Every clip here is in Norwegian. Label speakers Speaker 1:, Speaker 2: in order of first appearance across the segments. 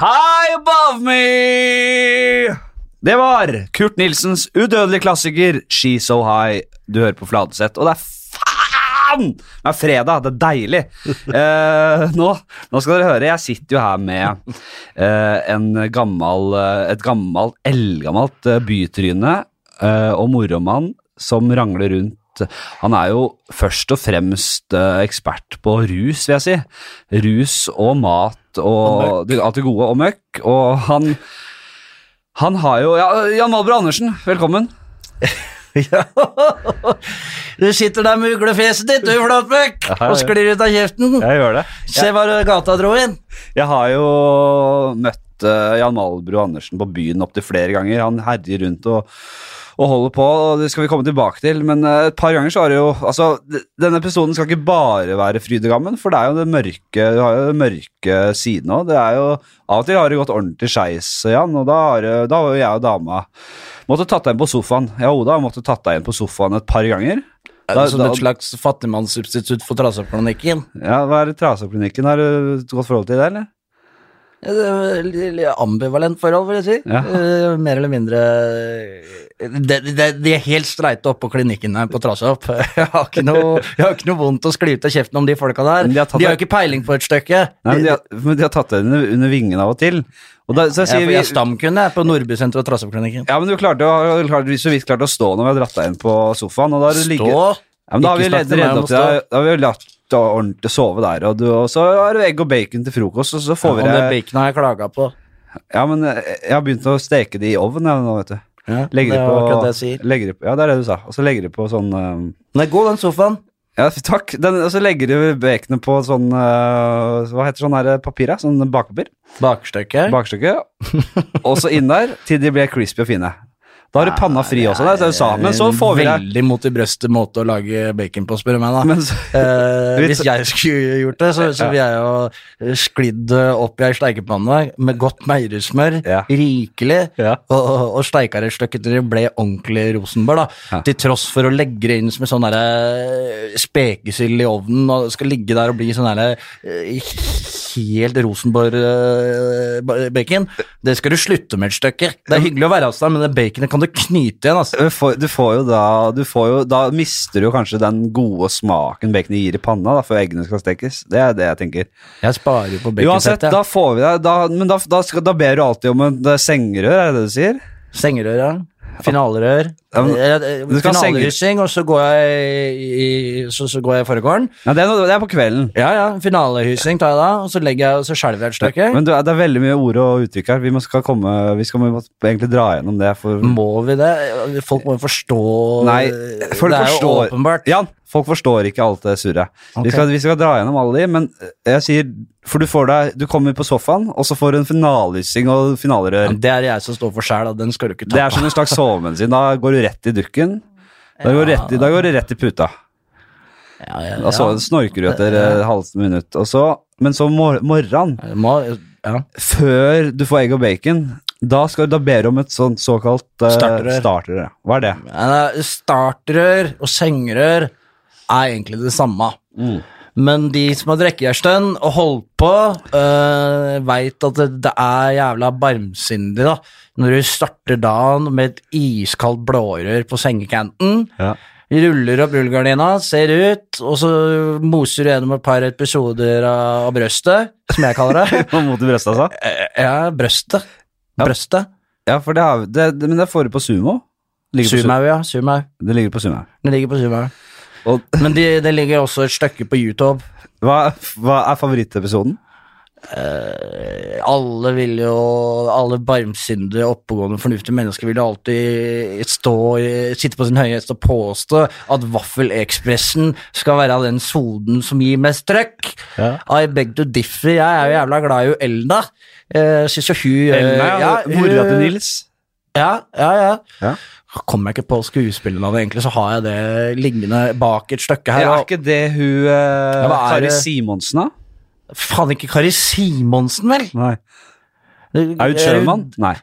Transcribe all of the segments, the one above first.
Speaker 1: High above me! Det var Kurt Nilsens udødelige klassiker She's So High. Du hører på Fladseth, og det er faen! Det er fredag, det er deilig. Eh, nå, nå skal dere høre, jeg sitter jo her med eh, en gammel, eh, et gammelt, eldgammelt eh, bytryne eh, og moromann som rangler rundt. Han er jo først og fremst eh, ekspert på rus, vil jeg si. Rus og mat og, og alt det gode, og møkk. Og han han har jo ja, Jan Malbro Andersen, velkommen.
Speaker 2: Ja. Du sitter der med uglefjeset ditt, du, Flatbøk,
Speaker 1: ja.
Speaker 2: og sklir ut av kjeften.
Speaker 1: Jeg gjør det.
Speaker 2: Se hva gata dro inn.
Speaker 1: Jeg har jo møtt eh, Jan Malbro Andersen på byen opptil flere ganger. Han herjer rundt og, og holder på, og det skal vi komme tilbake til. Men eh, et par ganger så har det jo Altså, d- denne episoden skal ikke bare være frydegammen, for det er jo det mørke Du har jo den mørke siden òg. Det er jo Av og til har det gått ordentlig skeis, Jan, og da har det- da har jo jeg og dama måttet tatt deg inn på sofaen. Jeg og Oda har måttet tatt deg inn på sofaen et par ganger.
Speaker 2: Er det som
Speaker 1: sånn
Speaker 2: et slags fattigmannssubstitutt for traseklinikken.
Speaker 1: Ja, hva er det traseklinikken? Har du et godt forhold til det, eller?
Speaker 2: Ja, det er litt- litt Ambivalent forhold, vil jeg si.
Speaker 1: Ja.
Speaker 2: Eh, mer eller mindre eh, De, de, de er helt streite oppå klinikken her på Trasehopp. Jeg har ikke noe, jeg har ikke noe vondt å skli ut av kjeften om de folka der.
Speaker 1: Men de
Speaker 2: De
Speaker 1: har
Speaker 2: har,
Speaker 1: tatt
Speaker 2: jo ikke peiling på et stykke.
Speaker 1: Nei, men de har, men de har tatt det under, under vingen av og til. Og da, så jeg
Speaker 2: jeg,
Speaker 1: sier
Speaker 2: jeg,
Speaker 1: vi...
Speaker 2: er stamkunde jeg, på Nordby senter og Trasehoppklinikken.
Speaker 1: Ja, men du klarte, å- du klarte så vidt klarte å stå når vi har dratt deg inn på sofaen, og da har du ligget...
Speaker 2: Stå!
Speaker 1: Ja, men da har vi
Speaker 2: Ikke snakk
Speaker 1: redd,
Speaker 2: til meg
Speaker 1: reddet
Speaker 2: om
Speaker 1: opp
Speaker 2: å
Speaker 1: til deg, da har vi latt deg ordentlig sove der, og, du, og så har du egg og bacon til frokost, og så får vi
Speaker 2: Ja, det
Speaker 1: det...
Speaker 2: baconet har jeg klaga på.
Speaker 1: Ja, men eh, jeg har begynt å steke det i ovnen jeg, nå, vet du.
Speaker 2: Ja,
Speaker 1: Legger
Speaker 2: det
Speaker 1: det
Speaker 2: er
Speaker 1: på...
Speaker 2: akkurat det jeg sier.
Speaker 1: legger det på, ja, det er det du sa. Og så legger det på sånn... eh,
Speaker 2: Den er god, den sofaen.
Speaker 1: Ja, takk. Den, og så legger du baconet på sånn... eh, hva heter sånn her eh, papir, da? Sånn bakpapir?
Speaker 2: Bakstykket.
Speaker 1: bakstykket, og så inn der til de ble crispy og fine. Da har du panna fri også, der, så er det sa, men så får vi deg.
Speaker 2: Eh, Veldig mot i brøstet måte å lage bacon på, spør du meg, da.
Speaker 1: Men så,
Speaker 2: Eh,
Speaker 1: Vet-
Speaker 2: hvis jeg skulle gjort det, så, så ville jeg jo sklidd opp i ei steikepanne med godt meierismør,
Speaker 1: Ja.
Speaker 2: rikelig,
Speaker 1: Ja.
Speaker 2: og, og- og steika det et stykke til det ble ordentlig Rosenborg. da,
Speaker 1: Ja.
Speaker 2: Til tross for å legge det inn som en sånn derre eh, spekesild i ovnen, og skal ligge der og bli sånn derre eh, helt Rosenborg-bacon. Det skal du slutte med et stykke. Det er hyggelig å være hos deg, men det baconet kan du knyte igjen, altså.
Speaker 1: du får- du får jo da du får jo, Da mister du jo kanskje den gode smaken baconet gir i panna da, før eggene skal stekes. Det er det jeg tenker.
Speaker 2: Jeg sparer jo på
Speaker 1: Uansett,
Speaker 2: baconsettet.
Speaker 1: da får vi deg da, Men da, da, skal, da ber du alltid om en eh, sengerør, er det det du sier?
Speaker 2: Sengerør, ja. Finalerør.
Speaker 1: Ja, men- du skal ha senger.
Speaker 2: Finalerysing, og så går jeg i, i- så, så går jeg i forgården.
Speaker 1: Nei, det er, noe- det er på kvelden.
Speaker 2: Ja, ja. Finalehysing tar jeg da, og så legger jeg, og så skjelver jeg et stykke.
Speaker 1: Men du, det er veldig mye ord og uttrykk her. Vi må skal komme, vi skal må egentlig dra gjennom det. For,
Speaker 2: Må vi det? Folk må jo forstå
Speaker 1: Nei, folk
Speaker 2: Det er
Speaker 1: forstår-
Speaker 2: jo åpenbart.
Speaker 1: Jan, folk forstår ikke alt det surret.
Speaker 2: Ok.
Speaker 1: Vi, skal, vi skal dra gjennom alle de, men eh, jeg sier For du får deg Du kommer på sofaen, og så får du en finalelysing og finalerør.
Speaker 2: Det er jeg som står for sjæl, og den skal du ikke
Speaker 1: Det
Speaker 2: ta.
Speaker 1: er som en slags sovemedisin. Da går du rett i dukken. Da går, du rett, i- da går du rett i puta.
Speaker 2: Ja, ja,
Speaker 1: Da så,
Speaker 2: ja.
Speaker 1: snorker du etter eh, halvt minutt. Og så, men så mor morgenen,
Speaker 2: Jeg Eh, Må, ja.
Speaker 1: før du får egg og bacon, da, skal, da ber du om et sånt såkalt eh,
Speaker 2: Starterør.
Speaker 1: starterør. ja. Hva er det?
Speaker 2: Eh, Startrør og sengerør er egentlig det samme. Men de som har drukket en stund og holdt på, uh, veit at det, det er jævla barmsindig da. når du starter dagen med et iskaldt blårør på sengekanten.
Speaker 1: Ja.
Speaker 2: Ruller opp rullegardina, ser ut, og så moser du gjennom et par episoder av, av brøstet, som jeg kaller det.
Speaker 1: Mot i brøstet, altså?
Speaker 2: Eh, ja, brøstet. Brøstet.
Speaker 1: Ja, for det, har, vi- det, det, men det får du på sumo. Ligger på
Speaker 2: Sumau, ja. Sumau.
Speaker 1: Sumo. Det ligger på sumo.
Speaker 2: Den ligger på Sumau.
Speaker 1: Og
Speaker 2: Men det det ligger også et stykke på YouTube.
Speaker 1: hva, hva er favorittepisoden?
Speaker 2: Eh, Alle vil jo Alle barmsyndige, oppegående, fornuftige mennesker vil jo alltid stå, i- sitte på sin høye hest og påstå at Vaffelekspressen skal være den soden som gir mest trøkk.
Speaker 1: Ja.
Speaker 2: I beg to differ. Jeg er jo jævla glad i hun Elna. Uh, Syns jo hun eh, ja,
Speaker 1: Mora til
Speaker 2: hun-
Speaker 1: Nils.
Speaker 2: Ja, ja, ja.
Speaker 1: Ja.
Speaker 2: Kommer jeg ikke på skuespillernavnet, egentlig, så har jeg det liggende bak et stykke her.
Speaker 1: er
Speaker 2: og-
Speaker 1: ikke det hun eh,
Speaker 2: Ja, hva
Speaker 1: Kari
Speaker 2: er det?
Speaker 1: Simonsen, da?
Speaker 2: Faen, ikke Kari Simonsen, vel?
Speaker 1: Nei. Aud Schønmann? Nei.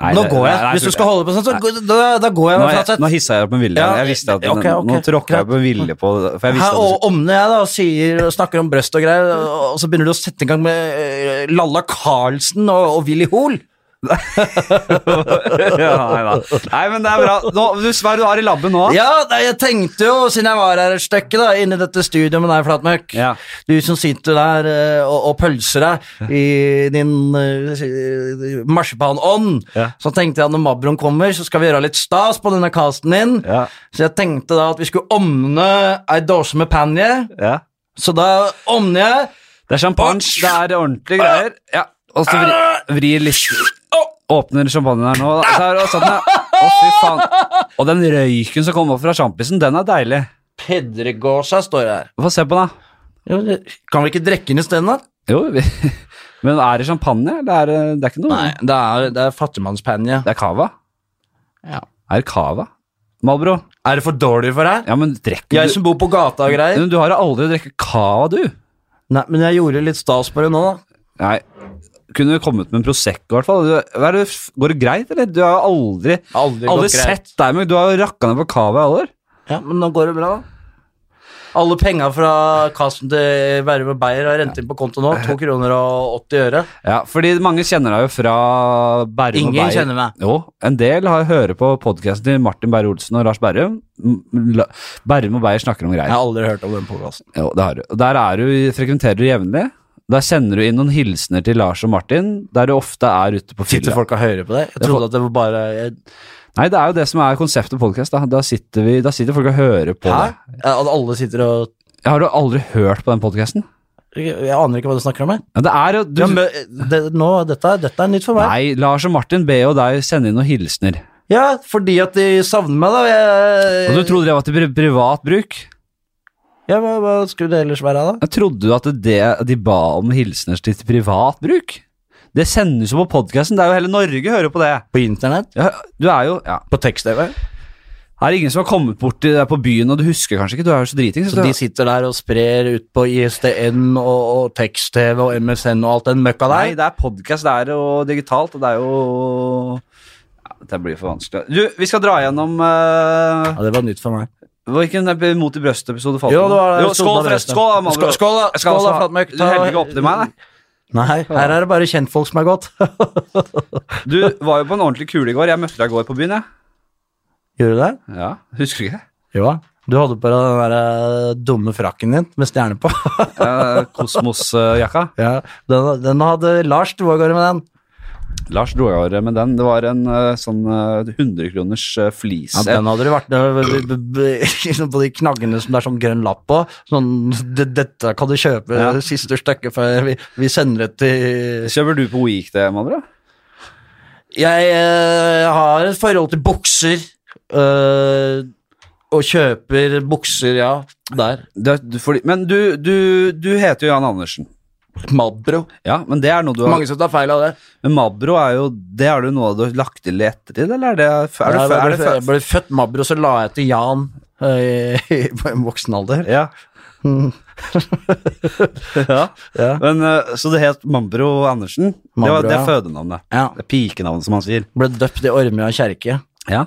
Speaker 1: Nei,
Speaker 2: Eh, nå
Speaker 1: det-
Speaker 2: går jeg.
Speaker 1: nei, nei,
Speaker 2: Hvis du
Speaker 1: tror
Speaker 2: skal
Speaker 1: jeg.
Speaker 2: holde på sånn, så gå- da, da går jeg
Speaker 1: Nå,
Speaker 2: med
Speaker 1: jeg,
Speaker 2: flatsett.
Speaker 1: nå hissa jeg opp med vilje.
Speaker 2: Ja,
Speaker 1: jeg visste at
Speaker 2: ja, ok, ok,
Speaker 1: Nå tråkka jeg på vilje på For jeg
Speaker 2: Her
Speaker 1: visste at du,
Speaker 2: omner jeg da og sier, og snakker om brøst og greier, og og så begynner du å sette i gang med eh, Lalla Carlsen og, og Willy Hoel.
Speaker 1: ja, nei, da. nei, men det er bra. Nå, du Sverre, du har i labben nå?
Speaker 2: Ja, nei, jeg tenkte jo, siden jeg var her et stykke, da, inne i dette studioet med deg, Flatmøkk
Speaker 1: Ja.
Speaker 2: Du som sitter der eh, og, og pølser deg i din uh, marsipanånd,
Speaker 1: Ja.
Speaker 2: så tenkte jeg at når Mabron kommer, så skal vi gjøre litt stas på denne casten din.
Speaker 1: Ja.
Speaker 2: Så jeg tenkte da at vi skulle omne ei dåse med panje,
Speaker 1: Ja.
Speaker 2: så da omner jeg.
Speaker 1: Det er champagne. Det er ordentlige greier. Ja. Og så vri, vrir litt Åpner champagnen her nå. da. Så er det sånn, ja. Å, fy faen. Og den røyken som kom opp fra sjampisen, den er deilig.
Speaker 2: Pedregåsa står det her.
Speaker 1: Få se på den, da.
Speaker 2: Jo, det- Kan vi ikke drikke den isteden, da?
Speaker 1: Jo, vi, men er det champagne? Det er, eh, det er ikke noe
Speaker 2: Nei, det er, det er fattigmannspanje.
Speaker 1: Det er cava.
Speaker 2: Ja.
Speaker 1: Er det cava? Malbro?
Speaker 2: Er det for dårlig for deg?
Speaker 1: Ja, men drikker
Speaker 2: Jeg
Speaker 1: du
Speaker 2: som bor på gata og greier.
Speaker 1: Men Du har jo aldri drukket cava, du.
Speaker 2: Nei, men jeg gjorde litt stas på det nå, da.
Speaker 1: Nei. Kunne du kommet med en Prosecco, i hvert fall. Du, hva er det, går det greit, eller? Du har jo aldri
Speaker 2: Aldri,
Speaker 1: Aldri sett deg, men du har jo rakka ned på cava i alle år.
Speaker 2: Ja, men nå går det bra, da. Alle penga fra kassen til Verve Beyer har rent inn på konto nå. To kroner og 80 øre.
Speaker 1: Ja, fordi mange kjenner deg jo fra Bærum og
Speaker 2: Ingen
Speaker 1: Beyer.
Speaker 2: kjenner meg.
Speaker 1: Jo, en del har hører på podkasten til Martin Beyer-Olsen og Lars Berrum. Berrum og Beyer snakker om
Speaker 2: Jeg
Speaker 1: greier.
Speaker 2: har aldri hørt om den podkasten.
Speaker 1: Jo, det har du. Og Der er du, frekventerer du jevnlig. Der sender du inn noen hilsener til Lars og Martin, der du ofte er ute på
Speaker 2: Sitter
Speaker 1: fylla.
Speaker 2: folk og hører på det? Jeg trodde at det var bare jeg,
Speaker 1: Nei, det er jo det som er konseptet podkast. Da. Da, sitter vi- da sitter folk og hører på
Speaker 2: Hæ?
Speaker 1: det.
Speaker 2: Ja, At alle sitter og
Speaker 1: Har du aldri hørt på den podkasten?
Speaker 2: Jeg aner ikke hva du snakker om. Jeg.
Speaker 1: Ja, det er jo du,
Speaker 2: Ja, men, eh, det, nå, dette, er- dette er nytt for meg.
Speaker 1: Nei, Lars og Martin ber jo deg sende inn noen hilsener.
Speaker 2: Ja, fordi at de savner meg, da. Jeg,
Speaker 1: Og du trodde det var til pri- privat bruk?
Speaker 2: ja, hva, hva skulle det ellers være, da?
Speaker 1: Jeg trodde du at det de ba om hilsener til privat bruk? Det sendes jo på podkasten, det er jo hele Norge hører på det.
Speaker 2: På internett?
Speaker 1: Ja, du er jo ja.
Speaker 2: På tekst-TV?
Speaker 1: Er det ingen som har kommet bort til deg på byen, og du husker kanskje ikke? Du er jo så driting.
Speaker 2: Så de sitter der og sprer ut på ISDN og, og tekst-TV og MSN og alt den møkka
Speaker 1: Nei,
Speaker 2: der?
Speaker 1: det er podkast, det er jo digitalt, og det er jo ja, Dette blir for vanskelig. Du, vi skal dra gjennom eh,
Speaker 2: Ja, det var nytt for meg.
Speaker 1: Hvilken epi- Mot i brøstet-episode falt
Speaker 2: Jo,
Speaker 1: den?
Speaker 2: det var
Speaker 1: jo, Skål, forresten. Skål, da, Malbro.
Speaker 2: Skål, skål, da.
Speaker 1: Jeg skal
Speaker 2: Skål, da,
Speaker 1: også ha-
Speaker 2: Flatmøkk.
Speaker 1: Du heller ikke opp til meg, nei?
Speaker 2: Nei, her er det bare kjentfolk som er godt.
Speaker 1: Du var jo på en ordentlig kule i går. Jeg møtte deg i går på byen, jeg.
Speaker 2: Gjorde du det?
Speaker 1: Ja, husker du ikke?
Speaker 2: Jo da. Du hadde på deg den der eh, dumme frakken din med stjerne på.
Speaker 1: Eh, Kosmos-jakka.
Speaker 2: ja, den, den hadde Lars dro av gårde med den.
Speaker 1: Lars dro i året med den. Det var en eh, sånn eh, 100 kroners eh, flis.
Speaker 2: Ja, den hadde du vært b- b- b- på de knaggene som det er sånn grønn lapp på. Sånn, d- dette kan du kjøpe
Speaker 1: Ja.
Speaker 2: det siste stykket før vi, vi sender det til
Speaker 1: Kjøper du på Week det, Mabro?
Speaker 2: Jeg eh, har et forhold til bukser. eh, og kjøper bukser, ja. Der.
Speaker 1: Det, du, fordi, men du, du, du heter jo Jan Andersen.
Speaker 2: Malbro.
Speaker 1: Ja, men det er noe du har
Speaker 2: Mange som tar feil av det.
Speaker 1: Men Mabro er jo Det er jo noe du har lagt til i ettertid, eller er det Er du fø-
Speaker 2: jeg,
Speaker 1: er
Speaker 2: ble,
Speaker 1: det fø-
Speaker 2: jeg ble født Mabro, så la jeg til Jan eh, i- på en voksen alder.
Speaker 1: Ja. ja.
Speaker 2: Ja.
Speaker 1: Men, eh, så det het Mabro Andersen. det
Speaker 2: Mabro,
Speaker 1: var det
Speaker 2: ja.
Speaker 1: er fødenavnet.
Speaker 2: Ja.
Speaker 1: Det er pikenavnet, som han sier.
Speaker 2: Ble døpt i Ormøya kjerke.
Speaker 1: Ja.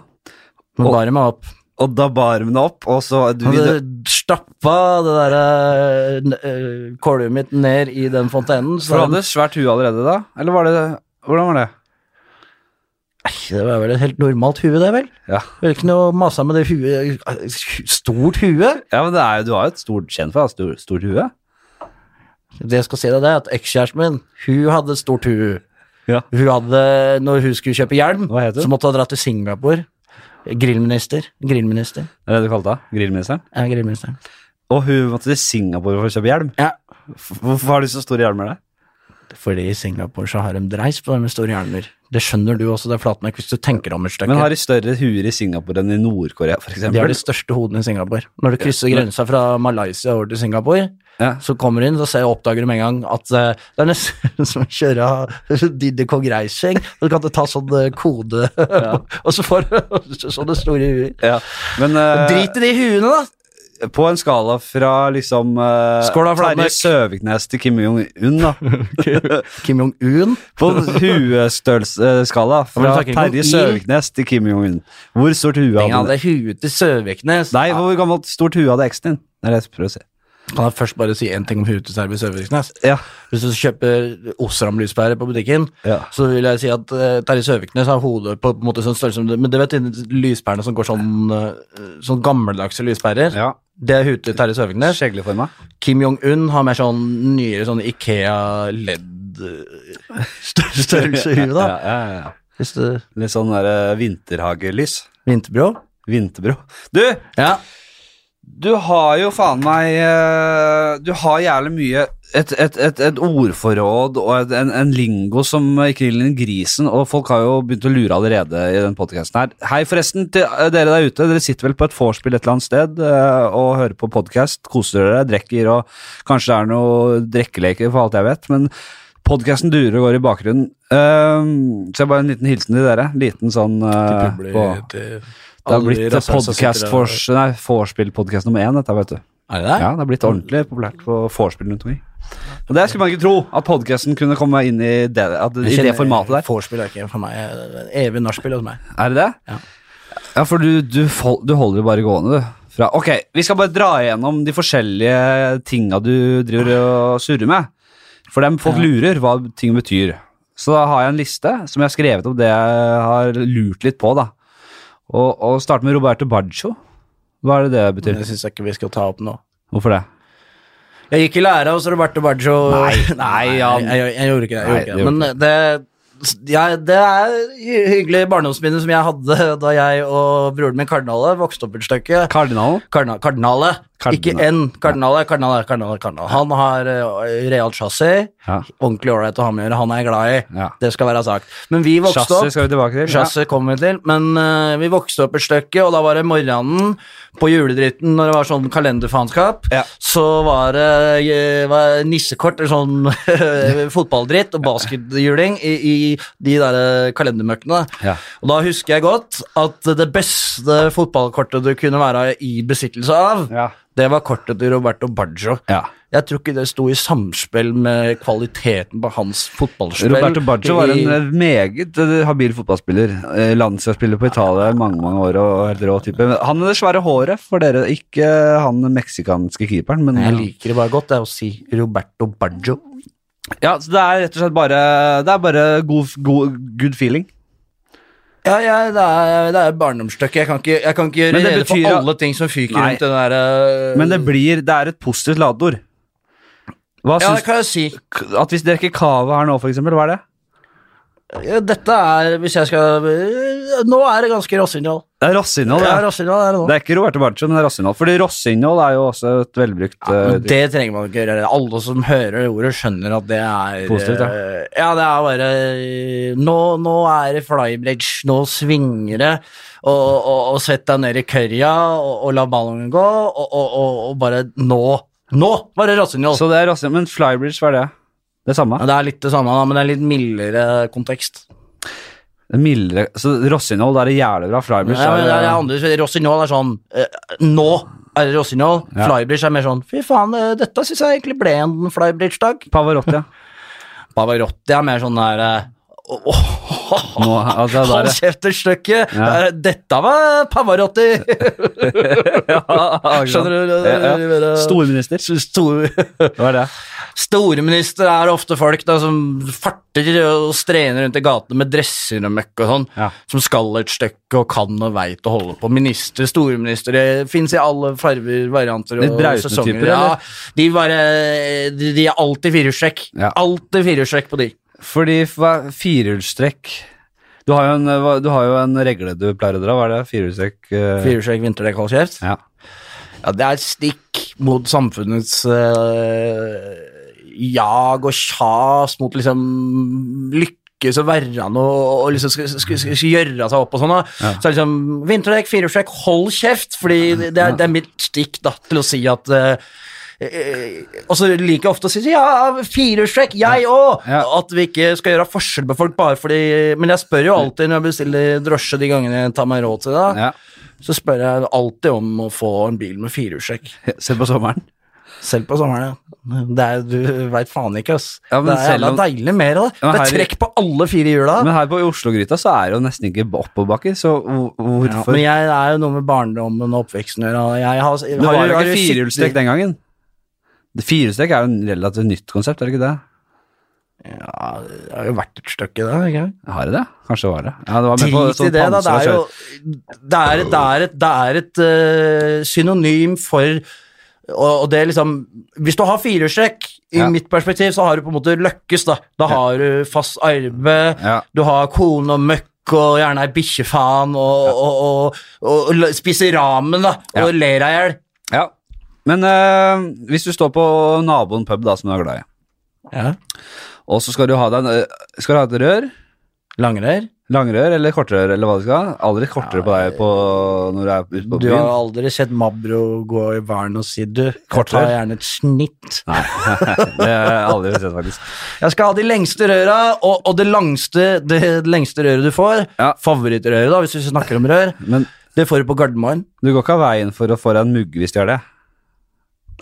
Speaker 2: Men
Speaker 1: Og-
Speaker 2: bare meg opp.
Speaker 1: Og da bar hun det opp, og så du,
Speaker 2: Han
Speaker 1: vi,
Speaker 2: hadde stappa det der eh, n- eh, kålet mitt ned i den fontenen.
Speaker 1: For
Speaker 2: Så
Speaker 1: du hadde svært hue allerede da? Eller var det Hvordan var det?
Speaker 2: Nei, det var vel et helt normalt hue, det, vel?
Speaker 1: Ja,
Speaker 2: Det er ikke noe masa med det huet. Stort hue?
Speaker 1: men det er, jo- du har jo et stort kjent for å ha stor- stort hue.
Speaker 2: Det jeg skal si deg, det er at ekskjæresten min, hun hadde et stort hue.
Speaker 1: Ja.
Speaker 2: Hun hadde, når hun skulle kjøpe hjelm,
Speaker 1: Hva heter hun?
Speaker 2: så måtte hun dra til Singapore. Grillminister. Grillminister.
Speaker 1: Det er det du kalte det? Grillministeren?
Speaker 2: Ja, grillministeren.
Speaker 1: Og hun måtte til Singapore for å kjøpe hjelm.
Speaker 2: Ja.
Speaker 1: F- Hvorfor har de så store hjelmer der?
Speaker 2: Fordi i Singapore så har de dreis på dem med store hjelmer. Det skjønner du også, det er flatmerk, hvis du tenker om et stykke.
Speaker 1: Men har de større huer i Singapore enn i Nord-Korea, for
Speaker 2: De har
Speaker 1: eksempel?
Speaker 2: de største hodene i Singapore. Når du krysser grensa fra Malaysia over til Singapore,
Speaker 1: Ja.
Speaker 2: så kommer du inn, så ser, oppdager du med en gang at eh, det er nesten som å kjøre Didi Kong Reising. Du kan ta sånn eh, kode, og så får du sånne store huer.
Speaker 1: Ja. Men eh,
Speaker 2: Drit i de huene, da!
Speaker 1: på en skala fra liksom eh,
Speaker 2: Skål da, Flatmark.
Speaker 1: Terje Søviknes til Kim Jong-un, da.
Speaker 2: Kim Jong-un.
Speaker 1: På huestørrelsesskala
Speaker 2: Men
Speaker 1: fra
Speaker 2: du snakker ikke om i.
Speaker 1: Terje Søviknes til Kim Jong-un. Hvor stort hue
Speaker 2: Han
Speaker 1: hadde
Speaker 2: hadde huet til Søviknes.
Speaker 1: Nei, hvor gammelt stort hue hadde eksen din? Det er det jeg prøver å si.
Speaker 2: Kan jeg først bare si én ting om huet til Serbi Søviknes?
Speaker 1: Ja.
Speaker 2: Hvis du kjøper Osram-lyspære på butikken,
Speaker 1: Ja.
Speaker 2: så vil jeg si at eh, Terje Søviknes har hodet på, på en måte sånn størrelse som det- Men det vet du, lyspærene som går sånn, eh, sånn gammeldagse lyspærer.
Speaker 1: ja.
Speaker 2: Det er huet til Terje Søviknes.
Speaker 1: Skjegleforma.
Speaker 2: Kim Jong-un har mer sånn nyere sånn Ikea-ledd-størrelse i huet, da.
Speaker 1: Ja, ja, ja, ja.
Speaker 2: Hvis du
Speaker 1: Litt sånn der, eh, vinterhagelys.
Speaker 2: Vinterbro.
Speaker 1: Vinterbro. Du,
Speaker 2: Ja.
Speaker 1: du har jo faen meg eh, Du har jævlig mye et, et, et, et ordforråd og et, en, en lingo som ikke gjelder grisen, og folk har jo begynt å lure allerede i den podkasten her. Hei, forresten, til eh, dere der ute. Dere sitter vel på et vorspiel et eller annet sted eh, og hører på podkast, koser dere, drikker, og kanskje det er noe drikkeleker for alt jeg vet, men podkasten durer og går i bakgrunnen. Eh, så bare en liten hilsen til dere. Liten sånn eh, på- det har blitt podcast for, nei, Vorspiel-podcast nummer én, dette, vet du.
Speaker 2: Er det det?
Speaker 1: Ja, det har blitt ordentlig populært på vorspiel rundt omkring. Og det skulle man ikke tro, at podcasten kunne komme inn i det, at, i det formatet der.
Speaker 2: Vorspiel er ikke for meg. Det er Evig nachspiel hos meg.
Speaker 1: Er det det?
Speaker 2: Ja.
Speaker 1: Ja, for du, du, fol- du holder det bare gående, du. Fra, ok, vi skal bare dra igjennom de forskjellige tinga du driver og surrer med. For dem folk lurer hva ting betyr. Så da har jeg en liste som jeg har skrevet om det jeg har lurt litt på, da. Og, og starte med Roberto Baggio. Hva er det det betyr?
Speaker 2: Men Det syns jeg ikke vi skal ta opp nå.
Speaker 1: Hvorfor det?
Speaker 2: Jeg gikk i lære hos Roberto Baggio.
Speaker 1: Nei, nei, han-
Speaker 2: jeg, jeg, jeg gjorde ikke det. Jeg
Speaker 1: Nei,
Speaker 2: gjorde
Speaker 1: det
Speaker 2: ikke det. Men det, jeg- det er hy- hyggelige barndomsminner som jeg hadde da jeg og broren min Kardinalet vokste opp et stykke.
Speaker 1: Kardinalen?
Speaker 2: Kardina, kardinalet,
Speaker 1: Kardinal.
Speaker 2: ikke N. Kardinalet, kardinalet, kardinalet, kardinalet. Han har eh, realt chassis.
Speaker 1: Ja.
Speaker 2: Ordentlig ålreit å ha med å gjøre. Han er jeg glad i.
Speaker 1: Ja.
Speaker 2: Det skal være sagt. Men vi vokste
Speaker 1: Chassis
Speaker 2: opp
Speaker 1: skal vi tilbake til. Ja.
Speaker 2: Chassis kommer vi til, men eh, vi vokste opp et stykke, og da var det morgenen på juledritten når det var sånn kalenderfaenskap.
Speaker 1: Ja.
Speaker 2: Så var det eh, var nissekort eller sånn fotballdritt og basketjuling i, i de der eh, kalendermøkkene.
Speaker 1: Ja.
Speaker 2: Og da husker jeg godt at det beste fotballkortet du kunne være i besittelse av,
Speaker 1: Ja.
Speaker 2: det var kortet til Roberto Baggio.
Speaker 1: Ja.
Speaker 2: Jeg tror ikke det sto i samspill med kvaliteten på hans fotballspill.
Speaker 1: Roberto Baggio var
Speaker 2: i-
Speaker 1: en eh, meget eh, habil fotballspiller. Eh, Landslagsspiller på Italia i mange mange år. og helt rå type. Men Han med det svære håret for dere. Ikke han meksikanske keeperen, men
Speaker 2: Jeg liker det bare godt, det er å si Roberto Baggio.
Speaker 1: ja, så Det er rett og slett bare, det er bare god, god, good feeling.
Speaker 2: Ja, ja, det er, det er barndomsstykket. Jeg, kan ikke- jeg kan ikke gjøre
Speaker 1: Men det
Speaker 2: rede
Speaker 1: betyr
Speaker 2: for
Speaker 1: at-
Speaker 2: alle ting som fyker
Speaker 1: Nei.
Speaker 2: rundt den der øh,
Speaker 1: Men det blir, det er et positivt ladeord. Hva
Speaker 2: Ja, det
Speaker 1: syns
Speaker 2: kan jeg si.
Speaker 1: At hvis dere drikker cava her nå, for eksempel, hva er det?
Speaker 2: Ja, Dette er, hvis jeg skal øh, Nå er det ganske rossignal.
Speaker 1: Det er rossinnhold.
Speaker 2: Ja,
Speaker 1: Ja.
Speaker 2: rossignal er det nå.
Speaker 1: Det er ikke Roberto Baggio, men det er rossinnhold. Fordi rossinnhold er jo også et velbrukt eh,
Speaker 2: Men det trenger man ikke gjøre. Alle som hører det ordet, skjønner at det er
Speaker 1: Positivt, ja.
Speaker 2: øh, Ja, det er bare øh, Nå, nå er det flybridge, nå svinger det. Og, og, og sett deg ned i kørja og, og la ballongen gå, og, og, og, og bare Nå! Nå var det rossignol!
Speaker 1: Så det er rasisme, men flybridge, hva er det? Det samme?
Speaker 2: Ja, Det er litt det samme, da, men det er litt mildere kontekst.
Speaker 1: Det er Mildere, så Rossignol, da er det jævlig bra. Flybridge
Speaker 2: Ja, men det er
Speaker 1: er eh, det,
Speaker 2: andre, Rossignol er sånn eh, Nå er det Rossignol.
Speaker 1: Ja.
Speaker 2: Flybridge er mer sånn Fy faen, eh, dette syns jeg egentlig ble en flybridge-dag.
Speaker 1: Pavarotti, ja.
Speaker 2: Pavarotti er mer sånn der eh, Åh,
Speaker 1: Nå, altså, det
Speaker 2: Hold
Speaker 1: er det.
Speaker 2: kjeft et stykke!
Speaker 1: Ja.
Speaker 2: Eh, Dette var Pavarotti!
Speaker 1: Ja,
Speaker 2: Skjønner du?
Speaker 1: Ja, ja. Storminister.
Speaker 2: Stor...
Speaker 1: Hva er det?
Speaker 2: Storminister er ofte folk da, som farter og strener rundt i gatene med dresser og møkk og sånn,
Speaker 1: Ja.
Speaker 2: som skal et stykke og kan og veit å holde på. Minister, storminister, det fins i alle farger, varianter
Speaker 1: Litt
Speaker 2: og
Speaker 1: brautende
Speaker 2: sesonger.
Speaker 1: typer, eller?
Speaker 2: ja, de, bare, de, de er alltid firehjulstrekk.
Speaker 1: Ja.
Speaker 2: Alltid firehjulstrekk på de.
Speaker 1: Fordi hva- firehjulstrekk du har, jo en, eh, hva- du har jo en regle du pleier å dra. Hva er det? Firehjulstrekk eh,
Speaker 2: Firehjulstrekk, vinterdekk, hold kjeft.
Speaker 1: ja.
Speaker 2: Ja, det er et stikk mot samfunnets eh, jag og kjas, mot liksom lykkes og verran og, og liksom skal, skal, skal, skal gjøre seg opp og sånn. da. Så er det liksom vinterdekk, firehjulstrekk, hold kjeft, fordi det er, det er mitt stikk da, til å si at eh, eh, Og så liker jeg ofte å si Ja, firehjulstrekk, jeg òg!
Speaker 1: Ja.
Speaker 2: At vi ikke skal gjøre forskjell på folk bare fordi Men jeg spør jo alltid når jeg bestiller drosje de gangene jeg tar meg råd til det,
Speaker 1: Ja.
Speaker 2: så spør jeg alltid om å få en bil med firehjulstrekk.
Speaker 1: Se på sommeren.
Speaker 2: Selv på sommeren, ja. Det er, du veit faen ikke, ass.
Speaker 1: Ja, men
Speaker 2: det er
Speaker 1: selv
Speaker 2: jævla
Speaker 1: om-
Speaker 2: deilig mer av det.
Speaker 1: Ja, men
Speaker 2: Det er
Speaker 1: her-
Speaker 2: trekk på alle fire hjula.
Speaker 1: Men her på Oslo-gryta så er det jo nesten ikke oppoverbakker, så hvor-
Speaker 2: Ja,
Speaker 1: hvorfor
Speaker 2: men jeg det er jo noe med barndommen og oppveksten å gjøre. og Jeg har,
Speaker 1: Det var
Speaker 2: har-
Speaker 1: jo
Speaker 2: har
Speaker 1: ikke firehjulstrekk
Speaker 2: sittet-
Speaker 1: den gangen. Det Firehjulstrekk er jo en relativt nytt konsept, er det ikke det?
Speaker 2: Ja, det har jo vært et stykke, det. ikke sant?
Speaker 1: Har det det? Kanskje det var det. Ja, det var med på
Speaker 2: Drit i
Speaker 1: sånn
Speaker 2: det, da. Det
Speaker 1: pansra
Speaker 2: er jo
Speaker 1: kjøretøy.
Speaker 2: Det er et, det er et, det er et eh, synonym for og, og det er liksom Hvis du har firehjulstrekk, i
Speaker 1: Ja.
Speaker 2: mitt perspektiv, så har du på en måte løkkes, da. Da har du fast arbeid,
Speaker 1: Ja.
Speaker 2: du har kone og møkk. Og gjerne ei bikkjefaen, og, og, og, og, og spiser ramen, da,
Speaker 1: Ja.
Speaker 2: og ler deg i hjel.
Speaker 1: Ja. Men eh, hvis du står på naboen pub, da, som du er glad i,
Speaker 2: Ja.
Speaker 1: og så skal du ha deg en, eh, skal du ha et rør,
Speaker 2: Langrør.
Speaker 1: langrør eller kortrør, eller hva du skal ha, aldri kortere på deg på, når du er ute på
Speaker 2: Du har
Speaker 1: byen.
Speaker 2: aldri sett Mabro gå i verden og si du, jeg
Speaker 1: Kortere.
Speaker 2: tar gjerne et snitt.
Speaker 1: Nei, det har jeg aldri sett, faktisk.
Speaker 2: Jeg skal ha de lengste røra, og, og det, langste, det lengste røret du får,
Speaker 1: Ja.
Speaker 2: favorittrøret da, hvis vi snakker om rør,
Speaker 1: Men
Speaker 2: det får du på Gardermoen.
Speaker 1: du går ikke av veien for å få deg en mugg hvis du gjør det.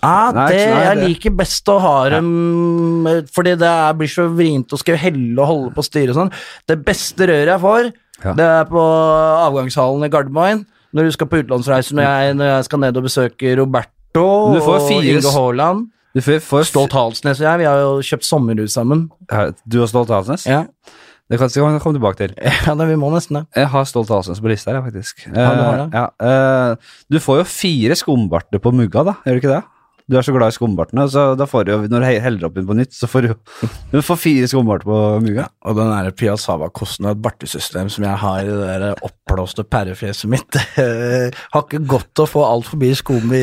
Speaker 2: Ja,
Speaker 1: Nei,
Speaker 2: Ah, det,
Speaker 1: nei,
Speaker 2: jeg
Speaker 1: det-
Speaker 2: liker best å ha dem, eh, fordi det er, blir så vrient å skal helle og holde på styret og sånn. Det beste røret jeg får,
Speaker 1: Ja.
Speaker 2: det er på avgangshallen i Gardermoen, når du skal på utenlandsreise, når jeg, når jeg skal ned og besøke Roberto
Speaker 1: Men du får
Speaker 2: og
Speaker 1: fire-
Speaker 2: Inge Haaland.
Speaker 1: Du får, får
Speaker 2: Stolt Halsnes og jeg, vi har jo kjøpt sommerhus sammen.
Speaker 1: Du og Stolt Halsnes?
Speaker 2: Ja,
Speaker 1: Det kan vi komme tilbake til.
Speaker 2: ja det, vi må nesten det.
Speaker 1: Jeg har Stolt Halsnes på lista her, jeg, faktisk.
Speaker 2: du har
Speaker 1: Eh,
Speaker 2: det.
Speaker 1: ja, eh, du får jo fire skumbarter på mugga, da. Gjør du ikke det? Du er så glad i skumbartene, så da får du jo, når du he- heller opp inn på nytt, så får du, du får fire skumbarter på mugga.
Speaker 2: Og den der Piazzava-kosten og et bartesystem som jeg har i det der oppblåste pærefjeset mitt, det har ikke godt å få alt forbi skum i,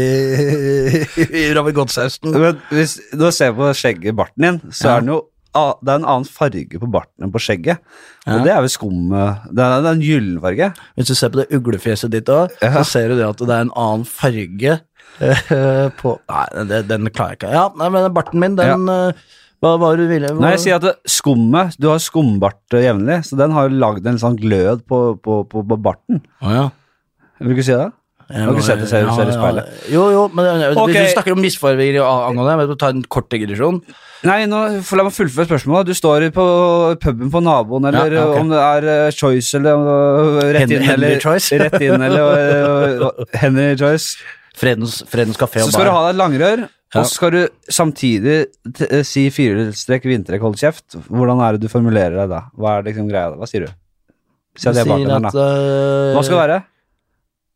Speaker 2: i ravigotsausen.
Speaker 1: Men hvis du ser på skjegget, barten din, så
Speaker 2: Ja.
Speaker 1: er den jo a- det er en annen farge på barten enn på skjegget. Og
Speaker 2: Ja.
Speaker 1: det er vel skum eh, Det er, det er en gyllen farge.
Speaker 2: Hvis du ser på det uglefjeset ditt òg, så ser du det at det er en annen farge eh, på Nei, det, den klarer jeg ikke. Ja, nei, men barten min, den eh, Hva var det du ville?
Speaker 1: Nei, jeg sier at det- skummet Du har skumbart eh, jevnlig, så den har jo lagd en sånn glød på, på, på, på barten.
Speaker 2: Å, ja.
Speaker 1: Vil du ikke si det?
Speaker 2: Jeg
Speaker 1: Har ikke sett det, ser-
Speaker 2: ja,
Speaker 1: ser i
Speaker 2: ja.
Speaker 1: speilet.
Speaker 2: Jo, jo, men eh,
Speaker 1: Ok.
Speaker 2: hvis du snakker om misfarger og angående, jeg vet du, ta en kort digresjon.
Speaker 1: Nei, nå, for la meg fullføre spørsmålet. Du står på puben på naboen, eller
Speaker 2: Ja, ja, ok.
Speaker 1: om det er eh, Choice eller eh, rett
Speaker 2: Henry-
Speaker 1: inn,
Speaker 2: Henry
Speaker 1: eller
Speaker 2: Choice.
Speaker 1: rett inn, eller eh, eh, Henry Choice.
Speaker 2: Fredens, Fredens kafé
Speaker 1: Så
Speaker 2: og
Speaker 1: skal du
Speaker 2: bar.
Speaker 1: ha deg et langrør,
Speaker 2: Ja.
Speaker 1: og så skal du samtidig t eh, si firehjulstrekk, vindtrekk, hold kjeft. Hvordan er det du formulerer deg da? Hva er liksom greia da? Hva sier du? Si at
Speaker 2: Du
Speaker 1: jeg er
Speaker 2: sier
Speaker 1: bartenderen,
Speaker 2: at
Speaker 1: da. Hva skal det
Speaker 2: eh,
Speaker 1: være?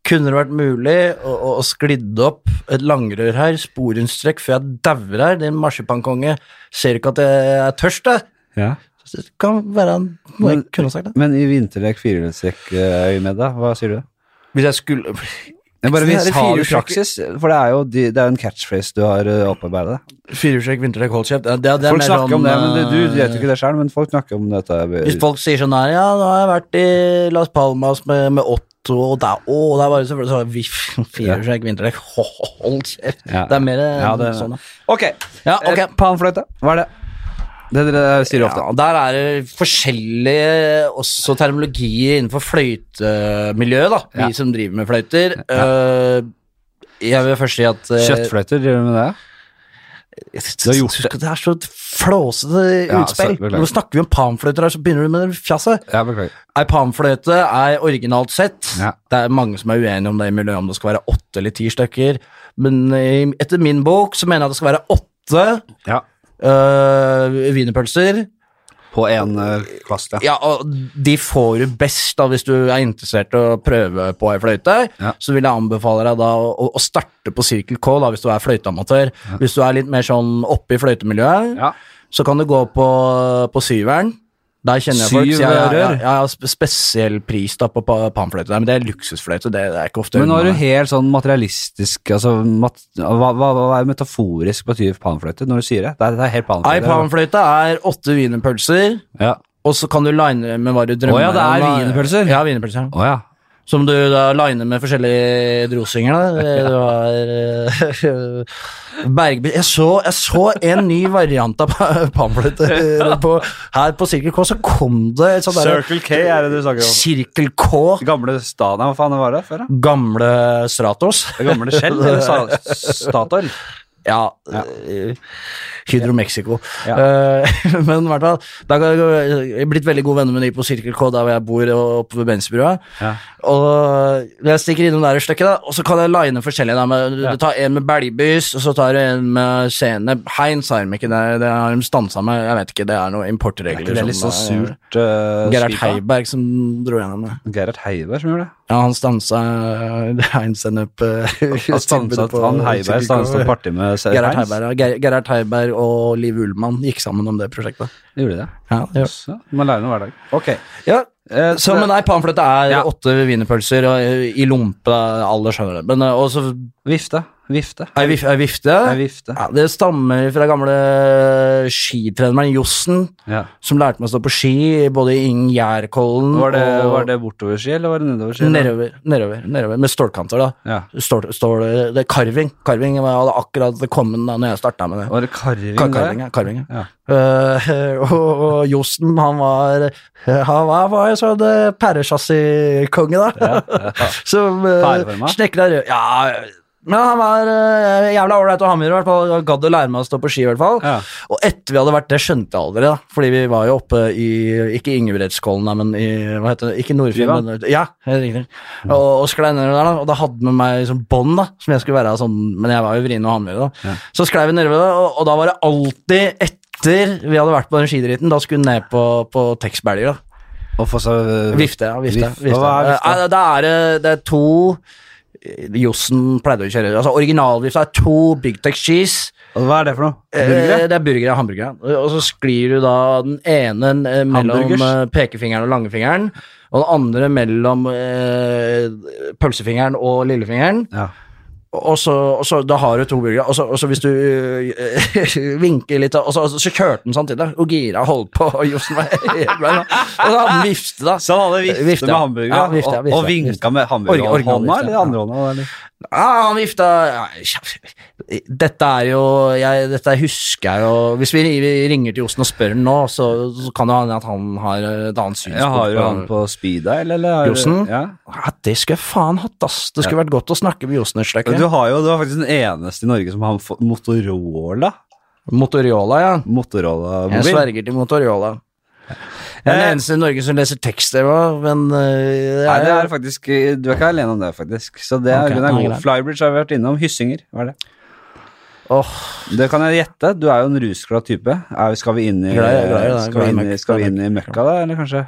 Speaker 2: kunne det vært mulig å, å, å sklidde opp et langrør her, sporenstrekk, før jeg dauer her, din marsipankonge. Ser du ikke at jeg er tørst, jeg?
Speaker 1: Ja.
Speaker 2: Så Det kan være en, noe jeg
Speaker 1: Men-
Speaker 2: kunne sagt, det.
Speaker 1: Men i vinterlekk, firehjulstrekk, eh, øyemed, da? Hva sier du?
Speaker 2: Hvis jeg skulle
Speaker 1: Jeg bare
Speaker 2: Så
Speaker 1: vil
Speaker 2: er det
Speaker 1: ha det i
Speaker 2: firehjulstrekk-
Speaker 1: praksis, for det er jo de, det er jo en catchphrase du har eh, opparbeidet.
Speaker 2: Firehjulstrekk, vinterdekk, hold kjeft. Det, det, det er
Speaker 1: Folk
Speaker 2: mer
Speaker 1: snakker
Speaker 2: sånn,
Speaker 1: om det, men det, du
Speaker 2: eh,
Speaker 1: vet jo ikke det sjøl. Men folk snakker om dette.
Speaker 2: Hvis folk sier sånn her, ja, nå har jeg vært i Las Palmas med, med Otto, og det er, å, det er bare selvfølgelig sånn, vi- firehjulstrekk, vinterdekk, ho- hold kjeft.
Speaker 1: Ja.
Speaker 2: Det er mer eh,
Speaker 1: Ja, det-
Speaker 2: sånn, da.
Speaker 1: Ok,
Speaker 2: Ja, ok.
Speaker 1: Eh, panfløyte. Hva er det? Det dere sier ofte.
Speaker 2: Ja, der er det forskjellige også terminologier innenfor fløytemiljøet, da. Vi
Speaker 1: Ja.
Speaker 2: som driver med fløyter. Eh, jeg vil først si at eh,
Speaker 1: Kjøttfløyter, driver du med det? Du har gjort
Speaker 2: Det er så et flåsete
Speaker 1: Ja,
Speaker 2: utspill.
Speaker 1: så- beklager.
Speaker 2: Nå snakker vi om panfløyter her, så begynner du med det fjaset.
Speaker 1: Ja, beklager.
Speaker 2: Ei panfløyte er originalt sett
Speaker 1: Ja.
Speaker 2: Det er mange som er uenige om det i miljøet, om det skal være åtte eller ti stykker. Men eh, etter min bok så mener jeg at det skal være åtte
Speaker 1: Ja.
Speaker 2: uh, wienerpølser.
Speaker 1: På én eh, kvast, ja.
Speaker 2: Ja, og de får du best da hvis du er interessert i å prøve på ei fløyte.
Speaker 1: Ja.
Speaker 2: Så vil jeg anbefale deg da å, å starte på Cirkel K da, hvis du er fløyteamatør. Hvis du er litt mer sånn oppe i fløytemiljøet,
Speaker 1: Ja.
Speaker 2: så kan du gå på, på syveren. Der kjenner jeg folk. så Jeg, jeg, jeg, jeg har sp- spesiell pris da på pa- panfløyte, der, men det er luksusfløyte. Det, det er ikke ofte
Speaker 1: Men nå er du
Speaker 2: unna.
Speaker 1: helt sånn materialistisk altså, mat, hva, hva, hva er metaforisk betyr panfløyte når du sier det? Det er, det er helt panfløyte.
Speaker 2: Ei panfløyte er åtte wienerpølser,
Speaker 1: Ja.
Speaker 2: og så kan du line med hva du drømmer
Speaker 1: Å ja, det er
Speaker 2: om, da.
Speaker 1: wienerpølser?
Speaker 2: Ja, wienerpølser.
Speaker 1: Å ja.
Speaker 2: Som du da liner med forskjellige drosinger. Da. Du har eh, Bergby jeg så, jeg så en ny variant av pa- pamfletter på, her på Circle K. Så kom det et sånt derre
Speaker 1: Circle K er det du snakker om.
Speaker 2: Circle K.
Speaker 1: Gamle Stana, hva faen det var det før? da?
Speaker 2: Gamle Stratos.
Speaker 1: Det gamle Shell? eller Sa- Statoil?
Speaker 2: Ja. eh, Hydro Mexico.
Speaker 1: Ja.
Speaker 2: Eh, men i hvert fall, da kan jeg jeg er blitt veldig gode venner med de på Circle K, der hvor jeg bor, og oppe ved Bensbrua.
Speaker 1: Ja.
Speaker 2: Og jeg stikker innom der et stykke, da, og så kan jeg line forskjellige. Da, med, Du tar en med belgbys, og så tar du en med sene. Heinz har de ikke, det, det har de stansa med. Jeg vet ikke, det er noen
Speaker 1: Er
Speaker 2: importregler.
Speaker 1: ikke det litt
Speaker 2: som,
Speaker 1: sånn
Speaker 2: eh,
Speaker 1: surt uh,
Speaker 2: Gerhard Heiberg som dro gjennom det.
Speaker 1: Gerhard Heiberg som gjorde det?
Speaker 2: Ja, han stansa eh, Heinz-sennep.
Speaker 1: Han stanset, han Heiberg stanset et parti med Sir
Speaker 2: Gerhard
Speaker 1: Heinz.
Speaker 2: Heiberg, ja. Ger- Gerhard Heiberg og Liv Ullmann gikk sammen om det prosjektet.
Speaker 1: Gjorde de det?
Speaker 2: Ja, ja.
Speaker 1: Så, du må lære noe hver dag. Ok. Eh,
Speaker 2: Så, men nei, pamfletta er
Speaker 1: Ja.
Speaker 2: åtte wienerpølser og, eh, i lompe, alle skjønner det. Men eh, også
Speaker 1: Vifte. Vifte.
Speaker 2: ei vif, ei vifte.
Speaker 1: Det er vifte.
Speaker 2: Ja, det stammer fra gamle skitreneren Jossen,
Speaker 1: Ja.
Speaker 2: som lærte meg å stå på ski både i Gjærkollen
Speaker 1: Var, det,
Speaker 2: og
Speaker 1: var det bortoverski, eller var det nedoverski?
Speaker 2: nedover, nedover, nedover. Med stålkanter, da.
Speaker 1: Ja.
Speaker 2: Stål, stål, det er carving. Carving jeg hadde akkurat kommet da når jeg starta med det.
Speaker 1: Var det karving?
Speaker 2: Ka-
Speaker 1: der?
Speaker 2: Karving, ja. Karving, ja.
Speaker 1: Ja.
Speaker 2: Eh, og, og Josten, han var Han var, var en sånn eh, pæresjassikonge, da. Som uh,
Speaker 1: Pæreforma?
Speaker 2: snekra rød... Ja, men han var eh, jævla ålreit å ha med i hvert fall. Han Gadd å lære meg å stå på ski, i hvert fall.
Speaker 1: Ja.
Speaker 2: Og etter vi hadde vært det, skjønte jeg aldri, da. Fordi vi var jo oppe i Ikke Ingebrettskollen, da, men i Hva heter det? Ikke Nordfjord,
Speaker 1: Tryvann?
Speaker 2: men Ja, helt riktig. Og, og sklei nedover der, da. Og da hadde med meg sånn bånd, da, som jeg skulle være sånn Men jeg var jo vrien å ha med, da. Så sklei vi nedover, da, og, og da var det alltid etter vi hadde vært på den skidriten, da skulle hun ned på, på tekstbelger, da.
Speaker 1: Og få seg eh,
Speaker 2: Vifte, ja. Vifte.
Speaker 1: Vif-
Speaker 2: vifte.
Speaker 1: Hva er vifte?
Speaker 2: Eh, det, er, eh, det er to eh, Jossen pleide å kjøre Altså Originalvifta er to Big Tech Cheese.
Speaker 1: Og Hva er det for noe?
Speaker 2: Eh,
Speaker 1: Burgere?
Speaker 2: Det er burgere og hamburgere. Og så sklir du da den ene eh, mellom
Speaker 1: Hamburgers.
Speaker 2: eh, pekefingeren og langfingeren, og den andre mellom eh, pølsefingeren og lillefingeren.
Speaker 1: Ja.
Speaker 2: Og så, og så da har du to burgere, og så, og så hvis du eh, vinker litt, og så, og så, så kjørte den samtidig, da, og gira holdt på, og Jossen var helt bra, da. Og så hadde den vifte, da.
Speaker 1: Så han hadde vifte,
Speaker 2: Vifte,
Speaker 1: med
Speaker 2: ja.
Speaker 1: hamburger,
Speaker 2: Ja, vifte, ja,
Speaker 1: og-
Speaker 2: vifte,
Speaker 1: og vinka
Speaker 2: vifte.
Speaker 1: med hamburger i
Speaker 2: Orgi-
Speaker 1: hånda
Speaker 2: originalvifte,
Speaker 1: eller
Speaker 2: ja.
Speaker 1: andre hånda? Eller?
Speaker 2: Ja, han vifta ja, kjæ- Dette er jo jeg, Dette husker jeg jo Hvis vi, vi ringer til Josten og spør han nå, så, så kan det hende at han har et annet synspunkt.
Speaker 1: Ja, har jo han på speed dial, eller? har-
Speaker 2: Josen?
Speaker 1: Ja.
Speaker 2: Ja, det skulle jeg faen hatt, ass. Det skulle vært godt å snakke med Josten et stykke.
Speaker 1: Du har jo, du er faktisk den eneste i Norge som har fått Motorola.
Speaker 2: Motoriola, ja. Jeg
Speaker 1: Motorola-mobil.
Speaker 2: sverger til Motoriola. Jeg er
Speaker 1: Eh.
Speaker 2: den eneste i Norge som leser tekst-TV, men eh, det
Speaker 1: Nei,
Speaker 2: er,
Speaker 1: det er faktisk, Du er ikke alene om det, faktisk. Så det er,
Speaker 2: Ok,
Speaker 1: den er
Speaker 2: nei,
Speaker 1: god.
Speaker 2: greit.
Speaker 1: Flybridge har vi vært innom. Hyssinger, hva er det?
Speaker 2: Åh,
Speaker 1: Det kan jeg gjette. Du er jo en rusglad type. Er, vi- skal vi inn i,
Speaker 2: Jeg er glad i- jeg er glad i det.
Speaker 1: skal vi inn, i-
Speaker 2: Glad i
Speaker 1: skal vi inn i møkka, da? Eller kanskje?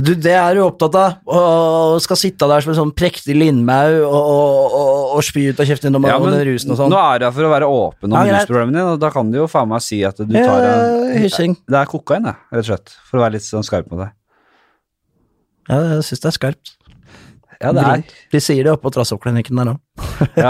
Speaker 2: Du, det er du opptatt av, og skal sitte der som en sånn prektig lindmau og, og, og, og spy ut av kjeften din om om den rusen og sånn.
Speaker 1: nå er det her for å være åpen om
Speaker 2: Ja, greit.
Speaker 1: rusproblemene dine, og da kan du jo faen meg si at du
Speaker 2: Ja,
Speaker 1: tar en
Speaker 2: Eh, hyssing.
Speaker 1: Det er kokain, det, rett og slett. For å være litt sånn skarp på deg.
Speaker 2: Ja, jeg syns det er skarpt.
Speaker 1: Ja, det er.
Speaker 2: De sier det oppe på Trasshoppklinikken der òg.
Speaker 1: Ja.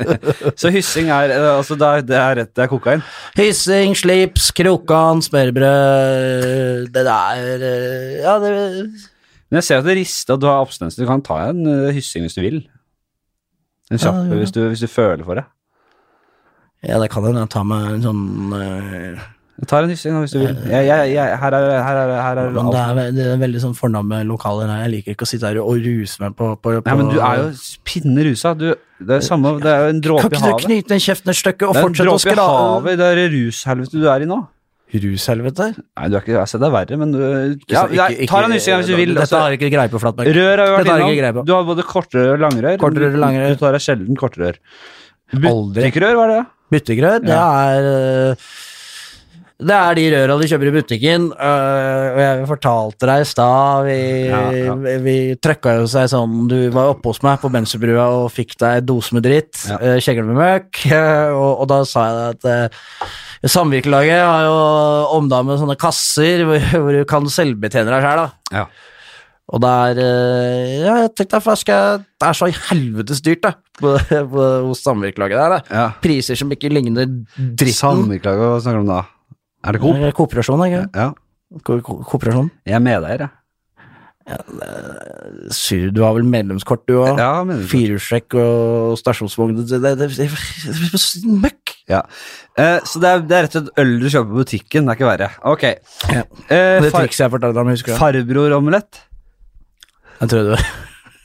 Speaker 1: Så hyssing er eh, Altså, det er, det er rett, det er kokain.
Speaker 2: Hyssing, slips, krokan, smørbrød Det der eh, Ja, det
Speaker 1: Men jeg ser at det rister at du har abstinens. Du kan ta en eh, hyssing hvis du vil. En kjapp
Speaker 2: ja, ja.
Speaker 1: hvis, du, hvis du føler for det.
Speaker 2: Ja, det kan hende jeg tar meg en sånn eh,
Speaker 1: Jeg tar en hyssing da, hvis du vil. Jeg, jeg, jeg, her er her er, her er
Speaker 2: Men det er, ve- det er veldig sånn fornamme lokaler her. Jeg liker ikke å sitte her og ruse meg på, på, på
Speaker 1: Nei, men du er jo pinne rusa. Du, det er samme, det er jo en
Speaker 2: Kan
Speaker 1: dråpe i
Speaker 2: ikke du
Speaker 1: havet.
Speaker 2: knyte den kjeften et stykke og
Speaker 1: Det er en
Speaker 2: fortsette å
Speaker 1: dråpe i
Speaker 2: skrave?
Speaker 1: havet, det er det rushelvete du er i nå.
Speaker 2: Rushelvete?
Speaker 1: Nei, du er ikke, altså, det er verre, men du ja,
Speaker 2: Ikke-
Speaker 1: nei, Ta en hyssing da, hvis du vil.
Speaker 2: Dette
Speaker 1: Altså,
Speaker 2: har jeg ikke greie på, Flatmark.
Speaker 1: rør har vi
Speaker 2: Dette har
Speaker 1: vært
Speaker 2: jeg ikke greie på.
Speaker 1: innom. Du har både kortrør og langrør.
Speaker 2: Kortrør og langrør.
Speaker 1: Du tar deg sjelden kortrør.
Speaker 2: Aldri.
Speaker 1: Trykkrør, var det?
Speaker 2: Buttegrøt, det er øh, Det er de røra du kjøper i butikken. øh, Og jeg fortalte deg i stad Vi,
Speaker 1: Ja, ja.
Speaker 2: vi, vi trøkka jo seg sånn Du var oppe hos meg på Benserbrua og fikk deg en dose med dritt.
Speaker 1: Ja.
Speaker 2: øh, Kjegle med møkk. øh, Og, og da sa jeg at øh, Samvirkelaget har jo omdannet sånne kasser hvor, hvor du kan selvbetjene deg sjæl.
Speaker 1: Ja.
Speaker 2: Og det er øh, Ja, jeg tenkte jeg først skal Det er så helvetes dyrt, da, på, på, hos samvirkelaget der. da
Speaker 1: ja.
Speaker 2: priser som ikke ligner dritten.
Speaker 1: Samvirkelaget, hva snakker du om da? Er det Coop?
Speaker 2: Kooperasjon, ikke
Speaker 1: Ja.
Speaker 2: Ko- ko- Kooperasjon.
Speaker 1: Jeg er medeier, jeg.
Speaker 2: Syr, du har vel medlemskort, du òg?
Speaker 1: Ja, medlemskort.
Speaker 2: Firehjulstrekk og stasjonsvogn Det, det, det, det, det Møkk!
Speaker 1: Ja. Eh, så det er, det er rett og slett øl du kjøper på butikken, det er ikke verre. Ok.
Speaker 2: Ja.
Speaker 1: Eh,
Speaker 2: Det
Speaker 1: far
Speaker 2: trikset jeg fortalte ham, husker du?
Speaker 1: Farbror-omelett.
Speaker 2: Jeg tror det var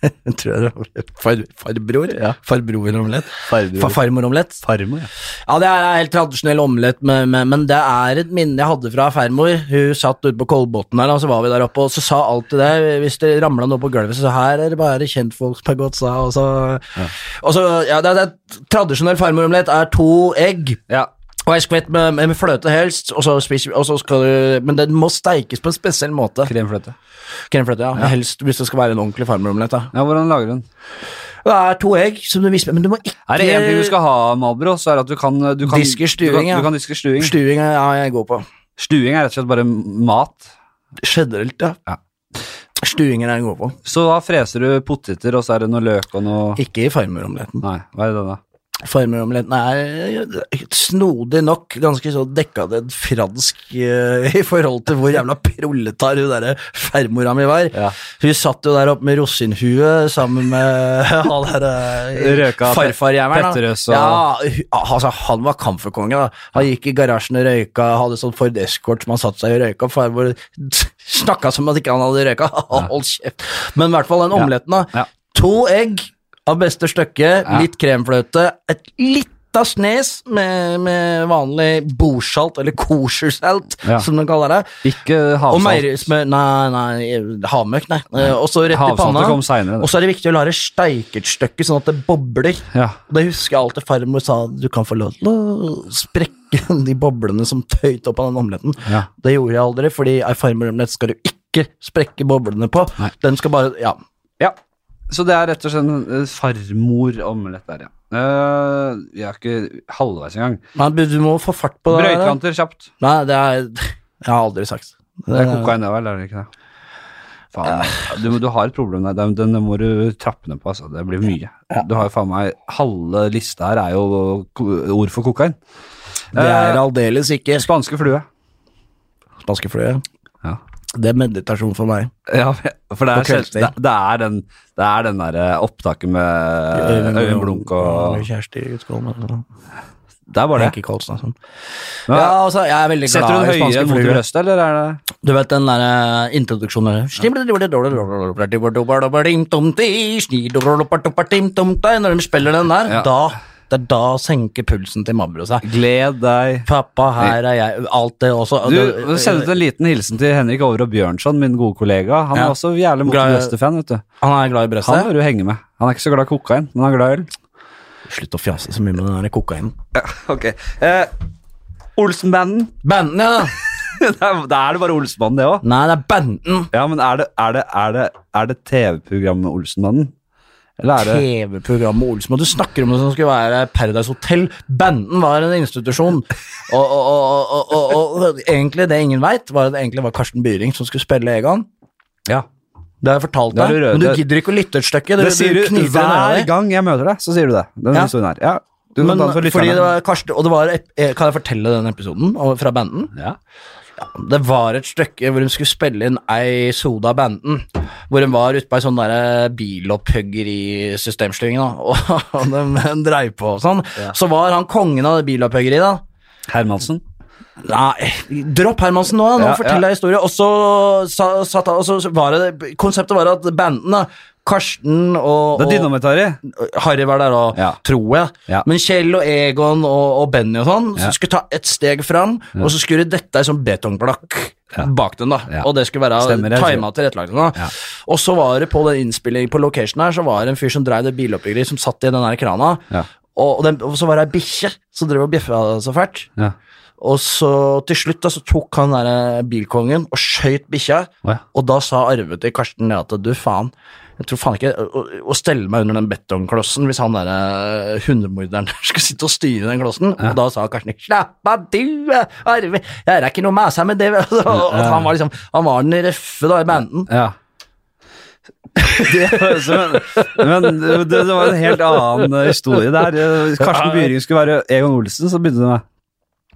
Speaker 2: jeg tror det var far, farbror? Ja. Farbroromlett? Far,
Speaker 1: Farbror.
Speaker 2: farmoromlett?
Speaker 1: Farmor, ja.
Speaker 2: Ja, det er helt tradisjonell omelett, men, men, men det er et minne jeg hadde fra farmor. Hun satt ute på Kolbotn der, og så var vi der oppe, og så sa alltid det. Hvis det ramla noe på gulvet, så sa her er det bare kjentfolk som har gått, sa og så, og så ja, det, det, er- Tradisjonell farmoromelett er to egg.
Speaker 1: ja.
Speaker 2: Og ei skvett med, med fløte helst, og så spiser vi, og så skal du Men den må steikes på en spesiell måte.
Speaker 1: Kremfløte.
Speaker 2: Kremfløte, ja. Men Helst hvis det skal være en ordentlig farmoromelett, da.
Speaker 1: Ja, hvordan lager du den?
Speaker 2: Det er to egg som du visper, men du må ikke
Speaker 1: Er det én ting du skal ha, Malbro, så er det at du kan, du kan
Speaker 2: Disker stuing,
Speaker 1: du kan,
Speaker 2: ja.
Speaker 1: Du kan diske stuing.
Speaker 2: Stuing er ja, jeg går på.
Speaker 1: Stuing er rett og slett bare mat.
Speaker 2: Generelt, ja.
Speaker 1: Ja.
Speaker 2: Stuing er det jeg går på.
Speaker 1: Så da freser du poteter, og så er det noe løk og noe
Speaker 2: Ikke i farmeromeletten.
Speaker 1: Nei, hva er det da?
Speaker 2: Farmeromeletten er eh, snodig nok ganske så dekadent fransk eh, i forhold til hvor jævla proletar hun derre farmora mi var.
Speaker 1: Ja.
Speaker 2: Hun satt jo der oppe med rosinhue sammen med han derre eh,
Speaker 1: Røka Pet-
Speaker 2: farfarjævelen. da.
Speaker 1: Petterøs og-
Speaker 2: Ja, hu- altså, han var kamferkonge, da. Han gikk i garasjen og røyka, hadde sånn Ford Escort som han satte seg i og røyka. Farmor snakka som at ikke han hadde røyka. Hold kjeft. Men i hvert fall den omeletten, da.
Speaker 1: Ja.
Speaker 2: To egg av beste stykke,
Speaker 1: Ja.
Speaker 2: litt kremfløte, et lita snes med, med vanlig bordsalt, eller koshersalt,
Speaker 1: Ja.
Speaker 2: som de kaller det.
Speaker 1: Ikke
Speaker 2: Og
Speaker 1: havsalt.
Speaker 2: meierismør Nei, nei, havmøkk, nei. Eh, Og så rett i panna.
Speaker 1: Havsaltet kom seinere.
Speaker 2: Og så er det viktig å la det steike et stykke, sånn at det bobler.
Speaker 1: Ja.
Speaker 2: Og Det husker jeg alltid farmor sa, du kan få lov til å sprekke de boblene som tøyte opp av den omeletten.
Speaker 1: Ja.
Speaker 2: Det gjorde jeg aldri, fordi ei farmoromelett skal du ikke sprekke boblene på.
Speaker 1: Nei.
Speaker 2: Den skal bare, ja.
Speaker 1: ja. Så det er rett og slett en eh, farmor-omelett der, ja. Eh, Vi er ikke halvveis engang.
Speaker 2: Nei, men du må få fart på det. her, da.
Speaker 1: Brøytekanter kjapt.
Speaker 2: Nei, det er Jeg har aldri sagt
Speaker 1: Det er kokain, det vel? Er det ikke det? Faen, du, du har et problem der. Den, den må du trappe ned på, altså. Det blir mye. Du har jo faen meg Halve lista her er jo ko- ord for kokain.
Speaker 2: Det er
Speaker 1: Eh,
Speaker 2: aldeles ikke
Speaker 1: Spanske flue.
Speaker 2: spanske fløye.
Speaker 1: Ja.
Speaker 2: Det er meditasjon for meg.
Speaker 1: Ja, for det
Speaker 2: På
Speaker 1: er, selv-
Speaker 2: kveldstid.
Speaker 1: det, det er den, det er den der eh, opptaket med Øyvind Blunk Eh, og
Speaker 2: Kjersti Utskål
Speaker 1: Det er bare det.
Speaker 2: Henke Kolsen og sånn.
Speaker 1: Men,
Speaker 2: Ja, altså, jeg er veldig
Speaker 1: Setter du
Speaker 2: glad i
Speaker 1: den høyere
Speaker 2: spanske
Speaker 1: enn mot i
Speaker 2: fløye.
Speaker 1: brøstet, eller er det
Speaker 2: Du vet den derre introduksjonen der Når de spiller den der,
Speaker 1: Ja.
Speaker 2: da Det er da senker pulsen til Mabro seg.
Speaker 1: Gled deg
Speaker 2: Pappa, her er jeg Alt det også.
Speaker 1: Du, du sendte ut en liten hilsen til Henrik Over og Bjørnson, min gode kollega. Han
Speaker 2: Ja.
Speaker 1: er også jævlig mot
Speaker 2: Glad-
Speaker 1: Wester-fan, vet du.
Speaker 2: Han er glad i
Speaker 1: Han
Speaker 2: brøstet.
Speaker 1: bør du henge med. Han er ikke så glad i kokain, men han er glad i øl.
Speaker 2: Slutt å fjase så mye med den der kokainen.
Speaker 1: Ok. Eh, Olsenbanden.
Speaker 2: Banden, ja!
Speaker 1: Da er da er det bare Olsenbanden, det òg.
Speaker 2: Nei, det er banden.
Speaker 1: Ja, men er det, er det, er det, er det TV-programmet Olsenbanden? Eller er det
Speaker 2: TV-programmet Olsen, og du snakker om det som skulle være Paradise Hotel. Banden var en institusjon, og, og, og, og, og, og egentlig det ingen veit, var at det egentlig var Karsten Byring som skulle spille Egon.
Speaker 1: Ja.
Speaker 2: Det har jeg fortalt
Speaker 1: Det har
Speaker 2: deg,
Speaker 1: du rød-
Speaker 2: men du
Speaker 1: det-
Speaker 2: gidder ikke å lytte et stykke.
Speaker 1: Det sier du hver gang jeg møter deg, så sier du det. Den
Speaker 2: Ja.
Speaker 1: historien her. Ja. Du kan
Speaker 2: Men,
Speaker 1: ta den for
Speaker 2: fordi
Speaker 1: lytterne.
Speaker 2: det var Karsten, og det var, ep- eh, kan jeg fortelle den episoden og- fra banden?
Speaker 1: ja.
Speaker 2: Det var et stykke hvor de skulle spille inn ei Soda Banden. Hvor de var ute på ei sånn derre bilopphuggerisystemstilling, da. Og, og de, de dreiv på og sånn. Så var han kongen av det bilopphøggeriet, da.
Speaker 1: Hermansen.
Speaker 2: Nei, dropp Hermansen nå, nå
Speaker 1: Ja,
Speaker 2: forteller jeg historie. Og så, sa, satt, han- og så var det Konseptet var at banden, da. Karsten og,
Speaker 1: Det er
Speaker 2: og
Speaker 1: dynamitari.
Speaker 2: Harry var der òg,
Speaker 1: Ja.
Speaker 2: tror jeg.
Speaker 1: Ja.
Speaker 2: Men Kjell og Egon og, og Benny og sånn så
Speaker 1: Ja.
Speaker 2: skulle ta ett steg fram, og så skulle dette ei sånn betongblokk
Speaker 1: Ja.
Speaker 2: bak den, da.
Speaker 1: Ja.
Speaker 2: Og det skulle være
Speaker 1: Stemmer, jeg tror.
Speaker 2: tima tilrettelagt. da.
Speaker 1: Ja.
Speaker 2: Og så var det på den innspillingen på location her, så var det en fyr som dreiv det biloppbyggeriet, som satt i den her krana.
Speaker 1: Ja.
Speaker 2: Og, den, og så var det ei bikkje som drev og bjeffa så fælt.
Speaker 1: Ja.
Speaker 2: Og så til slutt da, så tok han der eh, bilkongen og skøyt bikkja.
Speaker 1: Å ja.
Speaker 2: Og da sa Arve til Karsten det at du faen, jeg tror faen ikke å, å stelle meg under den betongklossen hvis han der eh, hundemorderen skulle sitte og styre den klossen. Og da sa Karsten slapp av du, eh, Arve, jeg er ikke noe mæsa med det. Og han var liksom, han var den røffe da i banden.
Speaker 1: ja. Det- så, men men det, det var en helt annen eh, historie der. Eh, Karsten Byring skulle være Egon Olsen, så begynte det med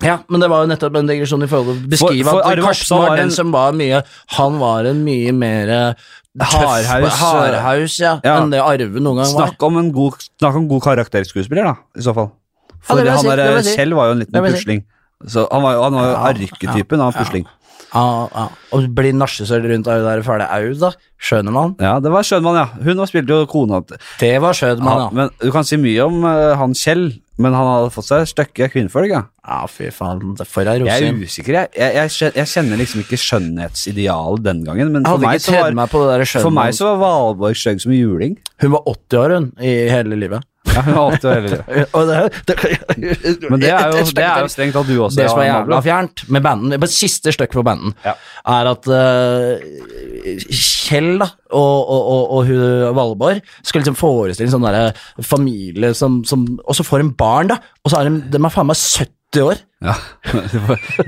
Speaker 2: Ja, men det var jo nettopp en digresjon i forhold til å beskrive
Speaker 1: For- for
Speaker 2: at
Speaker 1: Arve
Speaker 2: Karsten
Speaker 1: Oppsal
Speaker 2: var
Speaker 1: var en-
Speaker 2: den som var mye Han var en mye mer eh, tøff-
Speaker 1: Hardhaus, eh,
Speaker 2: hardhaus ja,
Speaker 1: ja.
Speaker 2: enn det Arve noen gang var.
Speaker 1: Snakk om en god, snakk om god karakterskuespiller, da, i så fall.
Speaker 2: Ja,
Speaker 1: For
Speaker 2: det vil jeg si,
Speaker 1: han
Speaker 2: det vil
Speaker 1: der eh,
Speaker 2: jeg si.
Speaker 1: Kjell var jo en
Speaker 2: Det
Speaker 1: liten
Speaker 2: vil jeg si.
Speaker 1: pusling. Så han var jo, han var jo arketypen av pusling.
Speaker 2: Ja, ja. Og bli narsesøl rundt Arve der fæle au, da. Skjønner man.
Speaker 1: Ja, det var Schønmann, ja. Hun var- spilte jo kona til
Speaker 2: Det var Schødman,
Speaker 1: han,
Speaker 2: ja.
Speaker 1: Men Du kan si mye om eh, han Kjell, men han hadde fått seg støkke kvinnfolk, ja.
Speaker 2: Ja, fy faen. det- For ei
Speaker 1: Jeg er
Speaker 2: rosin.
Speaker 1: usikker, jeg. Jeg, jeg, kjen- jeg kjenner liksom ikke skjønnhetsidealet den gangen, men
Speaker 2: Jeg
Speaker 1: for
Speaker 2: hadde
Speaker 1: meg,
Speaker 2: ikke
Speaker 1: så
Speaker 2: tredd
Speaker 1: var,
Speaker 2: meg på det der
Speaker 1: for meg
Speaker 2: Schødman.
Speaker 1: så var Valborg stygg som en juling.
Speaker 2: Hun var 80 år, hun, i hele livet.
Speaker 1: Ja, hun var 80 år eldre.
Speaker 2: Og det, det,
Speaker 1: Men det er jo, det er jo strengt at du også
Speaker 2: Det som er
Speaker 1: Jan
Speaker 2: jævla
Speaker 1: Oblak.
Speaker 2: fjernt med banden, bare siste støkk for banden,
Speaker 1: Ja.
Speaker 2: er at eh, Kjell da, og, og, og, og hun Valborg skal liksom forestille en sånn derre familie som, som Og så får hun barn, da, og så er de, de er faen meg 70 år.
Speaker 1: Ja.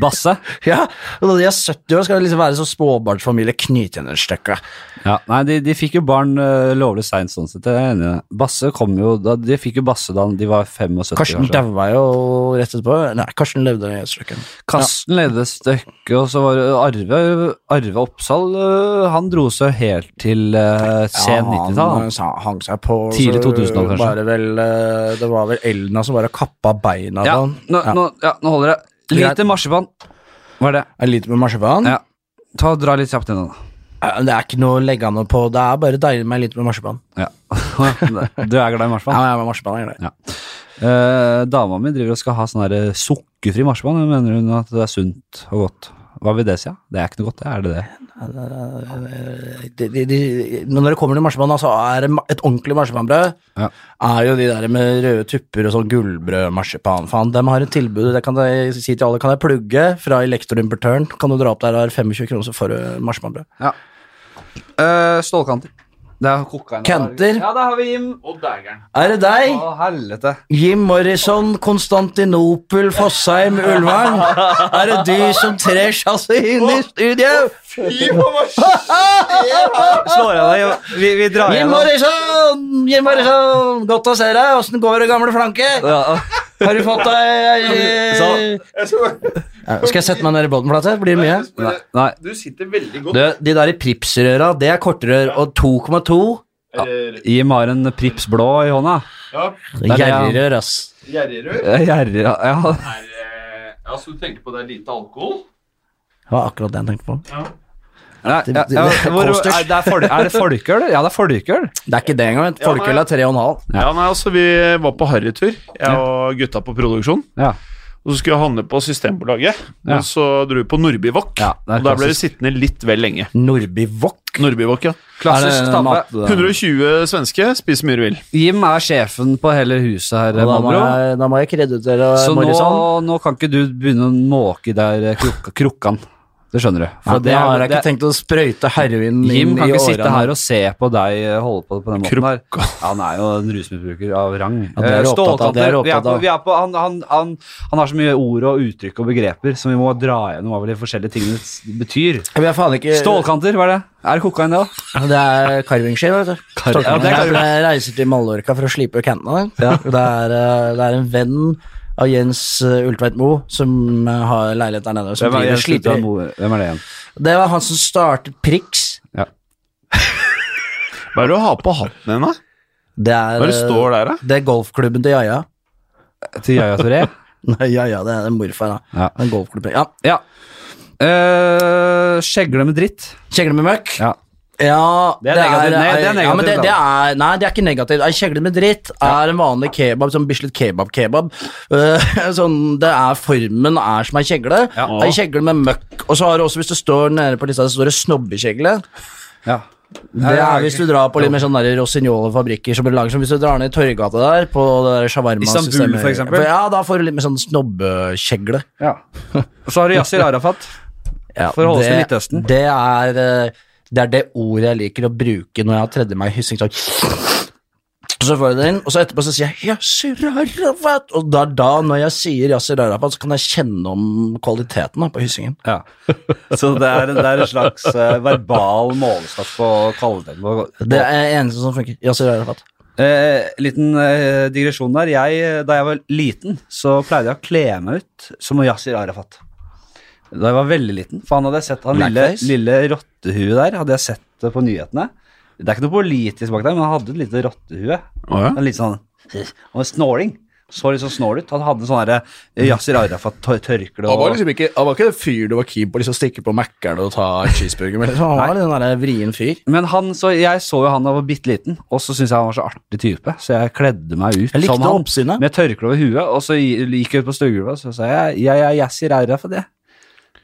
Speaker 1: Basse?
Speaker 2: Ja, og Når de er 70 år, skal det liksom være sånn småbarnsfamilie, knyte henne et stykke.
Speaker 1: Ja, nei, de, de fikk jo barn øh, lovlig seint, sånn sett. Jeg er enig i det. Basse kom jo da, De fikk jo Basse da de var 75.
Speaker 2: Karsten
Speaker 1: kanskje.
Speaker 2: daua jo rett etterpå. Nei, Karsten levde i et stykke.
Speaker 1: Karsten ledde stykket, og så var det Arve, Arve Oppsal øh, Han dro seg helt til øh, sen
Speaker 2: han eh,
Speaker 1: 90-tall.
Speaker 2: sa- hang seg på
Speaker 1: Tidlig
Speaker 2: så
Speaker 1: 2000-tall, kanskje.
Speaker 2: Bare vel, eh, det var vel Elna som bare kappa beina sånn.
Speaker 1: Ja,
Speaker 2: til han.
Speaker 1: nå, nå, ja, nå holder det. Lite
Speaker 2: Greit.
Speaker 1: marsipan. Hva er det?
Speaker 2: Er det lite med marsipan?
Speaker 1: Ja. Ta og Dra litt kjapt gjennom, da.
Speaker 2: Eh, Det er ikke noe å legge an noe på. Det er bare deilig med litt med marsipan.
Speaker 1: Ja. Du er glad i marsipan?
Speaker 2: Ja, jeg er med marsipan, jeg er det.
Speaker 1: Ja. Eh, dama mi driver og skal ha sånn der sukkerfri marsipan. Hun Mener hun at det er sunt og godt? Hva vil det si? Ja? Det er ikke noe godt, det. Er det det?
Speaker 2: De, de, de, men når det kommer til marsipan, da, så er det ma- et ordentlig marsipanbrød
Speaker 1: Ja.
Speaker 2: er jo de der med røde tupper og sånn gullbrødmarsipan. Faen, de har et tilbud, det kan jeg si til alle. Kan jeg plugge fra elektroimportøren? Kan du dra opp der og har 25 kroner, så får du marsipanbrød.
Speaker 1: Ja. Eh, stålkanter. Det er koka inn.
Speaker 2: Kanter?
Speaker 1: Ja, der har vi Jim.
Speaker 3: Og dægeren.
Speaker 2: Er det deg?
Speaker 1: Å, helvete.
Speaker 2: Jim Morrison, Konstantinopel, Fossheim, Ulvang. Er det du som trer chasset inn i studio?
Speaker 1: Slår jeg deg? Vi, vi drar
Speaker 2: Jim
Speaker 1: igjennom.
Speaker 2: Morrison! Jim Morrison, godt å se deg. Åssen går det, gamle flanke?
Speaker 1: Ja.
Speaker 2: Har du fått deg eh,
Speaker 1: Så-
Speaker 3: Jeg skal bare-
Speaker 2: Ja, Skal jeg sette meg ned i båten, Plate? Blir det mye?
Speaker 3: jeg skal bare-
Speaker 1: Nei.
Speaker 3: Du sitter veldig godt.
Speaker 2: Du, de der i Prips-røra, det er kortrør, og 2,2
Speaker 3: Eh,
Speaker 1: Jim har en Prips blå i hånda.
Speaker 3: Ja,
Speaker 1: er det, ja.
Speaker 2: gjerrigrør, ass.
Speaker 3: Gjerrigrør
Speaker 1: Eh, Gjerrig, ja. ja.
Speaker 3: er eh, Ja, så du tenker på det er lite alkohol?
Speaker 2: Det var akkurat det jeg tenkte på.
Speaker 1: Nei,
Speaker 2: Det-
Speaker 1: ja,
Speaker 2: det-
Speaker 1: ja.
Speaker 2: det er
Speaker 1: Hvor,
Speaker 2: kosters.
Speaker 1: er, det er, fol er det folkeøl? Ja, det er folkeøl.
Speaker 2: Det er ikke det engang. vet du. Folkeøl er 3,5.
Speaker 3: Ja, nei, altså Vi var på harrytur, jeg og gutta på produksjon.
Speaker 1: Ja.
Speaker 3: Og så skulle jeg handle på Systembolaget,
Speaker 1: Ja.
Speaker 3: men så dro vi på Nordbyvåk.
Speaker 1: Ja, det er
Speaker 3: og der ble vi
Speaker 1: klassisk.
Speaker 3: sittende litt vel lenge.
Speaker 2: Nordby Wok.
Speaker 3: Nordbyvåk, ja.
Speaker 1: Klassisk tabbe.
Speaker 3: 120 svenske, spis mye du vil.
Speaker 1: Jim er sjefen på hele huset her.
Speaker 2: Da må
Speaker 1: Malbro.
Speaker 2: jeg, da må jeg kreditere
Speaker 1: Så nå,
Speaker 2: Morrison.
Speaker 1: nå kan ikke du begynne å måke i der eh, krukka, krukkan. Det skjønner du. For
Speaker 2: Ja, det
Speaker 1: er-
Speaker 2: har jeg ikke
Speaker 1: det-
Speaker 2: tenkt å sprøyte heroin
Speaker 1: Jim
Speaker 2: inn
Speaker 1: kan
Speaker 2: i
Speaker 1: ikke sitte
Speaker 2: årene.
Speaker 1: her og se på deg eh, holde på på den måten her.
Speaker 3: Krukka.
Speaker 1: Ja, han er jo en rusmisbruker av rang.
Speaker 2: Ja, det er
Speaker 1: Eh,
Speaker 2: du opptatt av, det er du
Speaker 1: stålkanter. Vi er
Speaker 2: opptatt
Speaker 1: på,
Speaker 2: av.
Speaker 1: vi er på, han, han, han, han har så mye ord og uttrykk og begreper som vi må dra gjennom hva vel de forskjellige tingene s- betyr.
Speaker 2: Vi er faen ikke
Speaker 1: Stålkanter, hva er det? Er det kokain, det òg?
Speaker 2: Det er carvingskive, vet du.
Speaker 1: Kar-
Speaker 2: Stålkanter.
Speaker 1: Ja, det er carving.
Speaker 2: Jeg reiser til Mallorca for å slipe kantene. Det, er, eh, det er en venn av Jens eh, Ultveit Moe som eh, har leilighet der nede. Som
Speaker 1: Hvem, er
Speaker 2: driver og
Speaker 1: Jens Ultra
Speaker 2: sliper.
Speaker 1: Moe? Hvem er det igjen?
Speaker 2: Det var han som startet Prix.
Speaker 1: Ja.
Speaker 3: Hva er det å ha på hatten din, da?
Speaker 2: Det er,
Speaker 3: Hva er det
Speaker 2: eh,
Speaker 3: står der, da?
Speaker 2: det er golfklubben til Jaja.
Speaker 1: Til Yaya Toré?
Speaker 2: Nei, Jaja, det er en morfar, da.
Speaker 1: Ja.
Speaker 2: En golfklubb. Ja.
Speaker 1: ja. Eh, skjegle med dritt.
Speaker 2: Kjegle med møkk.
Speaker 1: Ja.
Speaker 2: Ja,
Speaker 1: Det er negativt. Nei, det er negativt,
Speaker 2: Ja, men det, det
Speaker 1: da.
Speaker 2: er, nei, det er ikke negativt. Ei kjegle med dritt er en vanlig kebab, sånn Bislett kebab-kebab. Eh, sånn, det er Formen er som ei kjegle.
Speaker 1: Ja.
Speaker 2: Ei kjegle med møkk. Og så har du også, hvis du står nede på lista, så står det snobbekjegle.
Speaker 1: Ja.
Speaker 2: Det er hvis du drar på litt mer sånn der Rossignol fabrikker som blir laget som hvis du drar ned i Torgata der, på det der shawarma-systemet.
Speaker 1: Istanbul, for eksempel.
Speaker 2: Ja, da får du litt mer sånn snobbekjegle.
Speaker 1: Ja. Og så har du Yasir Arafat.
Speaker 2: Ja,
Speaker 1: For å holde oss til
Speaker 2: det-
Speaker 1: Midtøsten.
Speaker 2: Det er, eh, det er det ordet jeg liker å bruke når jeg har tredje meg i hyssing. Sånn. Og så får jeg det inn, og så etterpå så sier jeg Yasir Arafat. Og da, da, når jeg sier Yasir Arafat, så kan jeg kjenne om kvaliteten da, på hyssingen.
Speaker 1: Ja. Så det er, det er en slags eh, verbal målestokk på kvaliteten på
Speaker 2: Det er eneste som funker. Yasir Arafat.
Speaker 1: Eh, liten eh, digresjon der. Jeg, eh, da jeg var liten, så pleide jeg å kle meg ut som Yasir Arafat. Da jeg var veldig liten. For han hadde jeg sett han lille,
Speaker 2: Blackface?
Speaker 1: lille rottehuet der hadde jeg sett det på nyhetene. Det er ikke noe politisk bak der, men han hadde et lite rottehue.
Speaker 3: Å, ja.
Speaker 1: En litt sånn Han var snoring. Så litt sånn snål ut. Han hadde en sånn derre Yasir Arafat-tørkle
Speaker 4: Han var
Speaker 1: og
Speaker 4: liksom ikke, han var ikke en fyr du var keen på liksom, å stikke på Mækkern og ta en cheeseburger med. Liksom.
Speaker 2: Han var litt den derre vrien fyr.
Speaker 1: Men han, så jeg så jo han da jeg var bitte liten, og så syntes jeg han var så artig type, så jeg kledde meg ut
Speaker 2: Jeg likte
Speaker 1: som han.
Speaker 2: oppsynet.
Speaker 1: Med tørkle over huet, og så gikk jeg ut på stuegulvet, og så sa jeg jeg er Yassi Reira for det.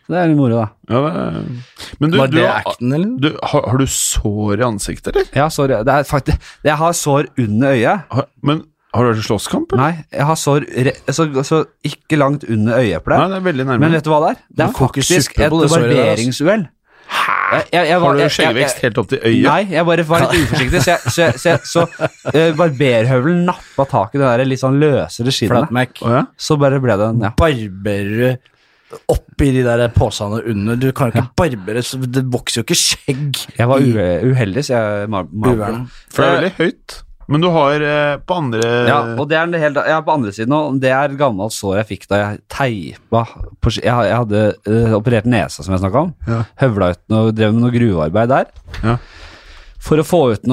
Speaker 1: Så det er litt moro, da.
Speaker 3: Ja, det- men du,
Speaker 2: Var
Speaker 3: du,
Speaker 2: det
Speaker 3: har-
Speaker 2: acten, eller?
Speaker 3: du har, har du sår i ansiktet, eller?
Speaker 1: Ja, sorry. Det er faktisk, jeg har sår under øyet.
Speaker 3: Har, men har du vært i slåsskamp? eller?
Speaker 1: Nei, jeg har sår re, så, så ikke langt under øyeeplet.
Speaker 3: Nei, det er veldig nærme.
Speaker 1: Men vet du hva det er? Det er
Speaker 2: Du koker
Speaker 1: faktisk
Speaker 2: suppe
Speaker 1: et
Speaker 2: på det såret der,
Speaker 1: barberingsuhell. Jeg- jeg- jeg var-
Speaker 3: altså- har du
Speaker 1: jeg- jeg-
Speaker 3: skjeggvekst helt opp til øyet?
Speaker 1: Nei, jeg bare var litt uforsiktig, så, jeg, så, jeg, så, jeg, så eh, barberhøvelen nappa tak i det der litt sånn løsere skinnet.
Speaker 2: Flatmac.
Speaker 3: Å, ja?
Speaker 1: Så bare ble det en ja.
Speaker 2: Barberer du oppi de der posene under? Du kan jo ikke barbere, så det vokser jo ikke skjegg.
Speaker 1: Jeg var
Speaker 2: i
Speaker 1: u uheldig, så jeg mar mar
Speaker 2: uverne.
Speaker 3: For det er veldig høyt. Men du har eh, på andre
Speaker 1: Eh, ja, og det er det hele, ja, på andre siden også, Det er et gammelt sår jeg fikk da jeg teipa på, ski- jeg, ha- jeg hadde eh, operert nesa, som jeg snakka om.
Speaker 3: Ja.
Speaker 1: Høvla ut noe, drev med noe gruvearbeid der.
Speaker 3: Ja.
Speaker 1: For å få ut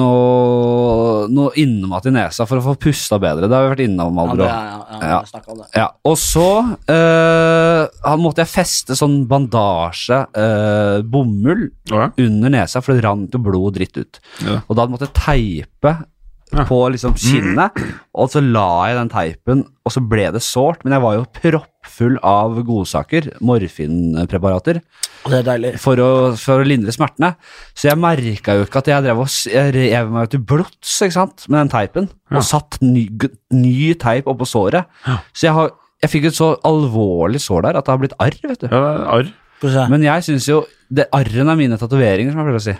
Speaker 1: noe, noe innmat i nesa, for å få pusta bedre. Det har vi vært innom.
Speaker 2: Ja,
Speaker 1: Alder,
Speaker 2: det
Speaker 1: også.
Speaker 2: er, ja, ja,
Speaker 1: Ja.
Speaker 2: jeg snakket om det.
Speaker 1: Ja, og så eh, han måtte jeg feste sånn bandasje, eh, bomull,
Speaker 3: Å, ja.
Speaker 1: under nesa, for det rant jo blod og dritt ut.
Speaker 3: Ja.
Speaker 1: Og da måtte jeg teipe
Speaker 3: Ja. Mm.
Speaker 1: på liksom kinnet, og så la jeg den teipen, og så ble det sårt, men jeg var jo proppfull av godsaker, morfinpreparater,
Speaker 2: Og Det er deilig.
Speaker 1: for å, for å lindre smertene. Så jeg merka jo ikke at jeg drev og s- jeg rev meg til blods ikke sant, med den teipen,
Speaker 3: Ja.
Speaker 1: og satt ny, g- ny teip oppå såret.
Speaker 3: Ja.
Speaker 1: Så jeg, har, jeg fikk et så alvorlig sår der at det har blitt arr, vet du.
Speaker 3: ja, det er arr.
Speaker 2: Få se.
Speaker 1: Men jeg syns jo det Arren er mine tatoveringer, som jeg pleier å si.